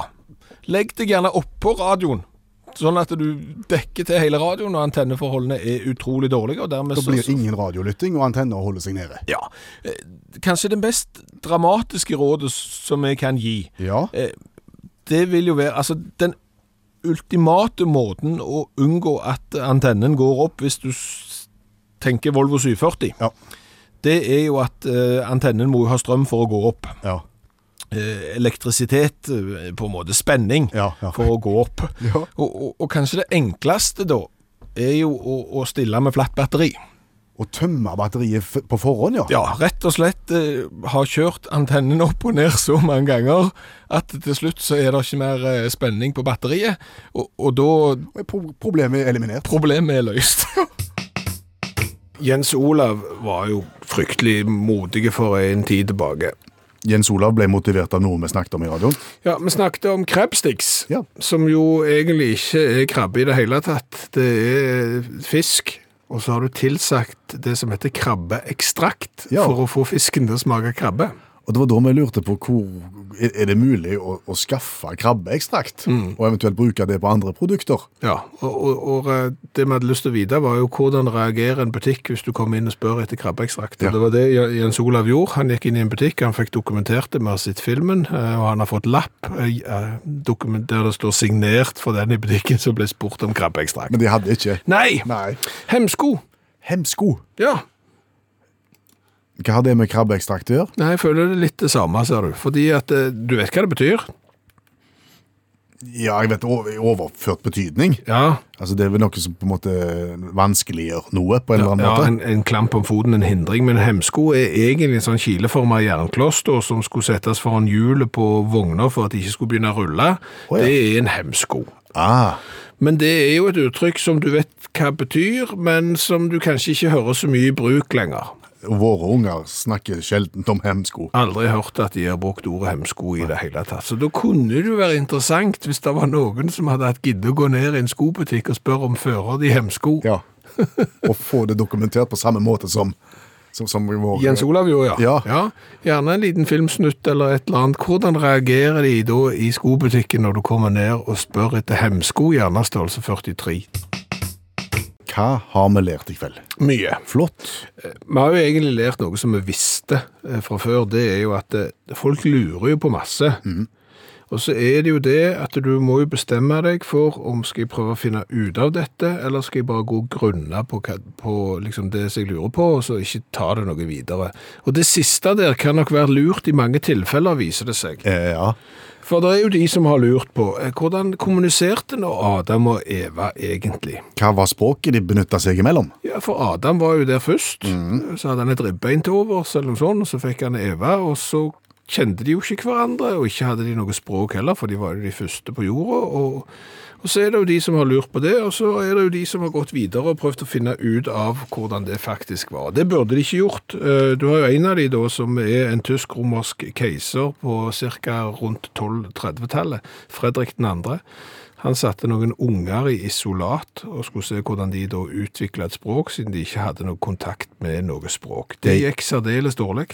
[SPEAKER 2] legg deg gjerne oppå radioen. Sånn at du dekker til hele radioen, og antenneforholdene er utrolig dårlige. og dermed
[SPEAKER 3] Da
[SPEAKER 2] så-
[SPEAKER 3] blir
[SPEAKER 2] så-
[SPEAKER 3] ingen radiolytting, og antenna holder seg nede.
[SPEAKER 2] Ja. eh, Kanskje det mest dramatiske rådet som jeg kan gi,
[SPEAKER 3] Ja.
[SPEAKER 2] det vil jo være Altså, den ultimate måten å unngå at antennen går opp, hvis du s- tenker Volvo 740,
[SPEAKER 3] Ja.
[SPEAKER 2] det er jo at eh, antennen må jo ha strøm for å gå opp.
[SPEAKER 3] Ja.
[SPEAKER 2] Eh, elektrisitet, eh, på en måte spenning,
[SPEAKER 3] Ja, ja.
[SPEAKER 2] for å gå opp.
[SPEAKER 3] Ja.
[SPEAKER 2] Og, og, og kanskje det enkleste da, er jo å, å stille med flatt batteri.
[SPEAKER 3] Å tømme batteriet f på forhånd, ja.
[SPEAKER 2] Ja, rett og slett eh, har kjørt antennen opp og ned så mange ganger at til slutt så er det ikke mer eh, spenning på batteriet, og, og da
[SPEAKER 3] Og pro- Problemet er eliminert.
[SPEAKER 2] problemet er løst. [laughs] Jens Olav var jo fryktelig modig for en tid tilbake.
[SPEAKER 3] Jens Olav ble motivert av noe vi snakket om i radioen.
[SPEAKER 2] Ja, Vi snakket om krebstiks,
[SPEAKER 3] Ja.
[SPEAKER 2] som jo egentlig ikke er krabbe i det hele tatt. Det er fisk, og så har du tilsagt det som heter krabbeekstrakt
[SPEAKER 3] Ja.
[SPEAKER 2] for å få fisken til å smake krabbe.
[SPEAKER 3] Og det var da vi lurte på hvor er er det mulig å, å skaffe krabbeekstrakt, og eventuelt bruke det på andre produkter.
[SPEAKER 2] Ja, og, og, og eh, det vi hadde lyst til å vite var jo hvordan reagerer en butikk hvis du kommer inn og spør etter krabbeekstrakt. Og
[SPEAKER 3] Ja.
[SPEAKER 2] Det var det Jens Olav gjorde. Han gikk inn i en butikk, han fikk dokumentert det med å ha sett filmen, eh, og han har fått lapp eh, eh, dokument- der det står signert for den i butikken som ble spurt om krabbeekstrakt.
[SPEAKER 3] Men de hadde ikke.
[SPEAKER 2] Nei!
[SPEAKER 3] Nei.
[SPEAKER 2] Hemsko!
[SPEAKER 3] Hemsko.
[SPEAKER 2] Ja.
[SPEAKER 3] Hva har det med krabbeekstrakt å gjøre?
[SPEAKER 2] Nei, jeg føler det er litt det samme, ser du. Fordi at eh, du vet hva det betyr.
[SPEAKER 3] Ja, jeg vet, over- i overført betydning.
[SPEAKER 2] Ja,
[SPEAKER 3] Altså, det er vel noe som på en måte vanskeliggjør noe, på en eller annen
[SPEAKER 2] ja
[SPEAKER 3] måte.
[SPEAKER 2] en, en klamp om foten, en hindring. Men hemsko er egentlig en sånn kileforma jernkloss da, som skulle settes foran hjulet på vogner for at de ikke skulle begynne å rulle.
[SPEAKER 3] Å, ja.
[SPEAKER 2] Det er en hemsko.
[SPEAKER 3] Ah,
[SPEAKER 2] Men det er jo et uttrykk som du vet hva betyr, men som du kanskje ikke hører så mye i bruk lenger.
[SPEAKER 3] våre unger snakker sjelden om hemsko.
[SPEAKER 2] Aldri hørt at de har brukt ordet hemsko i det hele tatt. Så da kunne det jo være interessant hvis det var noen som hadde hatt gidde å gå ned i en
[SPEAKER 3] [laughs]
[SPEAKER 2] skobutikk og spørre om fører de hemsko.
[SPEAKER 3] Ja. Å få det dokumentert på samme måte som Som, som vår,
[SPEAKER 2] Jens Olav gjorde, ja.
[SPEAKER 3] Ja.
[SPEAKER 2] Gjerne en liten filmsnutt eller et eller annet. Hvordan reagerer de da i skobutikken når du kommer ned og spør etter hemsko, gjerne størrelse 43?
[SPEAKER 3] Hva har vi lært i kveld?
[SPEAKER 2] Mye.
[SPEAKER 3] Flott.
[SPEAKER 2] Vi har jo egentlig lært noe som vi visste eh, fra før, det er jo at eh, folk lurer jo på masse. Og så er det jo det at du må jo bestemme deg for om skal jeg prøve å finne ut av dette, eller skal jeg bare gå grunna på, hva- på liksom det som jeg lurer på, og så ikke ta det noe videre. Og det siste der kan nok være lurt i mange tilfeller, viser det seg.
[SPEAKER 3] Eh, ja.
[SPEAKER 2] For det er jo de som har lurt på, eh, hvordan kommuniserte nå Adam og Eva egentlig?
[SPEAKER 3] Hva var språket de benytta seg imellom?
[SPEAKER 2] Ja, for Adam var jo der først. Så hadde han et ribbein til overs, eller noe sånt, og så fikk han Eva, og så kjente de jo ikke hverandre, og ikke hadde de noe språk heller, for de var jo de første på jorda. Og, og så er det jo de som har lurt på det, og så er det jo de som har gått videre og prøvd å finne ut av hvordan det faktisk var. Det burde de ikke gjort. Eh, Du har jo en av de da som er en tysk-romersk keiser på ca. rundt 1230-tallet, Fredrik den andre. Han satte noen unger i isolat og skulle se hvordan de da utvikla et språk, siden de ikke hadde noe kontakt med noe språk. Det gikk særdeles dårlig.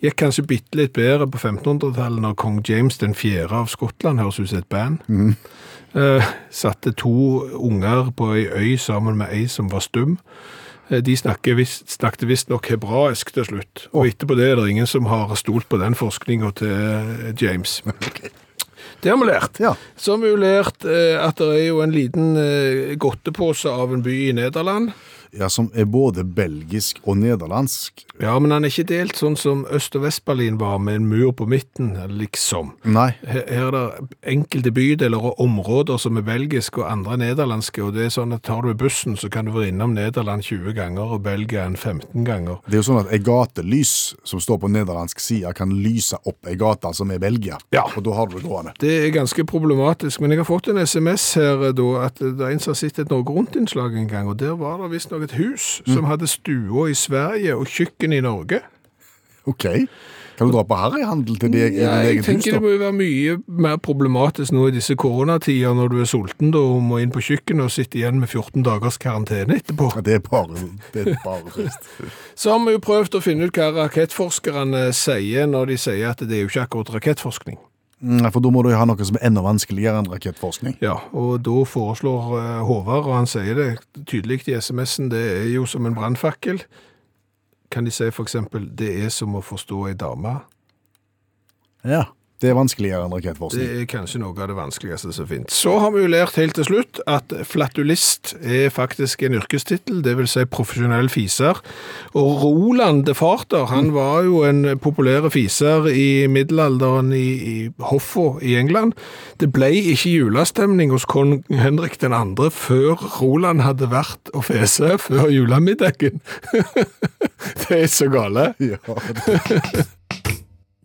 [SPEAKER 2] Gikk kanskje bitte litt bedre på 1500-tallet, når kong James den fjerde av Skottland, høres ut som et band, eh, satte to unger på ei øy sammen med ei som var stum. Eh, De snakker visst- snakket visstnok hebraisk til slutt, og etterpå det er det ingen som har stolt på den forskninga til eh, James. Det har vi lært.
[SPEAKER 3] Ja.
[SPEAKER 2] Så har vi jo lært eh, at det er jo en liten eh, godtepose av en by i Nederland.
[SPEAKER 3] Ja, Som er både belgisk og nederlandsk.
[SPEAKER 2] Ja, men han er ikke delt sånn som Øst- og Vest-Berlin var, med en mur på midten, liksom.
[SPEAKER 3] Nei.
[SPEAKER 2] Her her er det enkelte bydeler og områder som er belgiske og andre nederlandske, og det er sånn at tar du bussen, så kan du være innom Nederland 20 ganger og Belgia en 15 ganger.
[SPEAKER 3] Det er jo sånn at ei gatelys som står på nederlandsk side, kan lyse opp ei gate som er Belgia.
[SPEAKER 2] Ja.
[SPEAKER 3] Og da har du det gående.
[SPEAKER 2] Det er ganske problematisk, men jeg har fått en sms her eh, da, at det er en som har sett et Norge Rundt-innslag en gang, og der var det visst nok et hus som hadde stua i Sverige og kjøkken i Norge.
[SPEAKER 3] Ok. Kan du dra på harryhandel til deg i
[SPEAKER 2] Ja, jeg
[SPEAKER 3] din egen hus,
[SPEAKER 2] tenker det
[SPEAKER 3] da?
[SPEAKER 2] må jo være mye mer problematisk nå i disse koronatider når du er sulten da, og må inn på kjøkkenet og sitte igjen med 14 dagers karantene etterpå.
[SPEAKER 3] Ja, Det er bare, det er bare trist.
[SPEAKER 2] Så har vi jo prøvd å finne ut hva rakettforskerne sier når de sier at det er jo ikke akkurat rakettforskning.
[SPEAKER 3] Mm, For da må du jo ha noe som er enda vanskeligere enn rakettforskning.
[SPEAKER 2] Ja, og da foreslår eh, Håvard, og han sier det tydelig i SMS-en, det er jo som en brannfakkel. Kan de si for eksempel, det er som å forstå ei dame.
[SPEAKER 3] Ja. Det er vanskeligere enn
[SPEAKER 2] Det
[SPEAKER 3] rakettforskning.
[SPEAKER 2] er kanskje noe av det vanskeligste som finnes. Så har vi jo lært helt til slutt at flatulist er faktisk en yrkestittel, det vil si profesjonell fiser. Og Roland de Farter, han var jo en populær fiser i middelalderen i, i Hoffo i England. Det ble ikke julestemning hos kong Henrik den andre før Roland hadde vært og fese før julemiddagen. [laughs] det er så gale.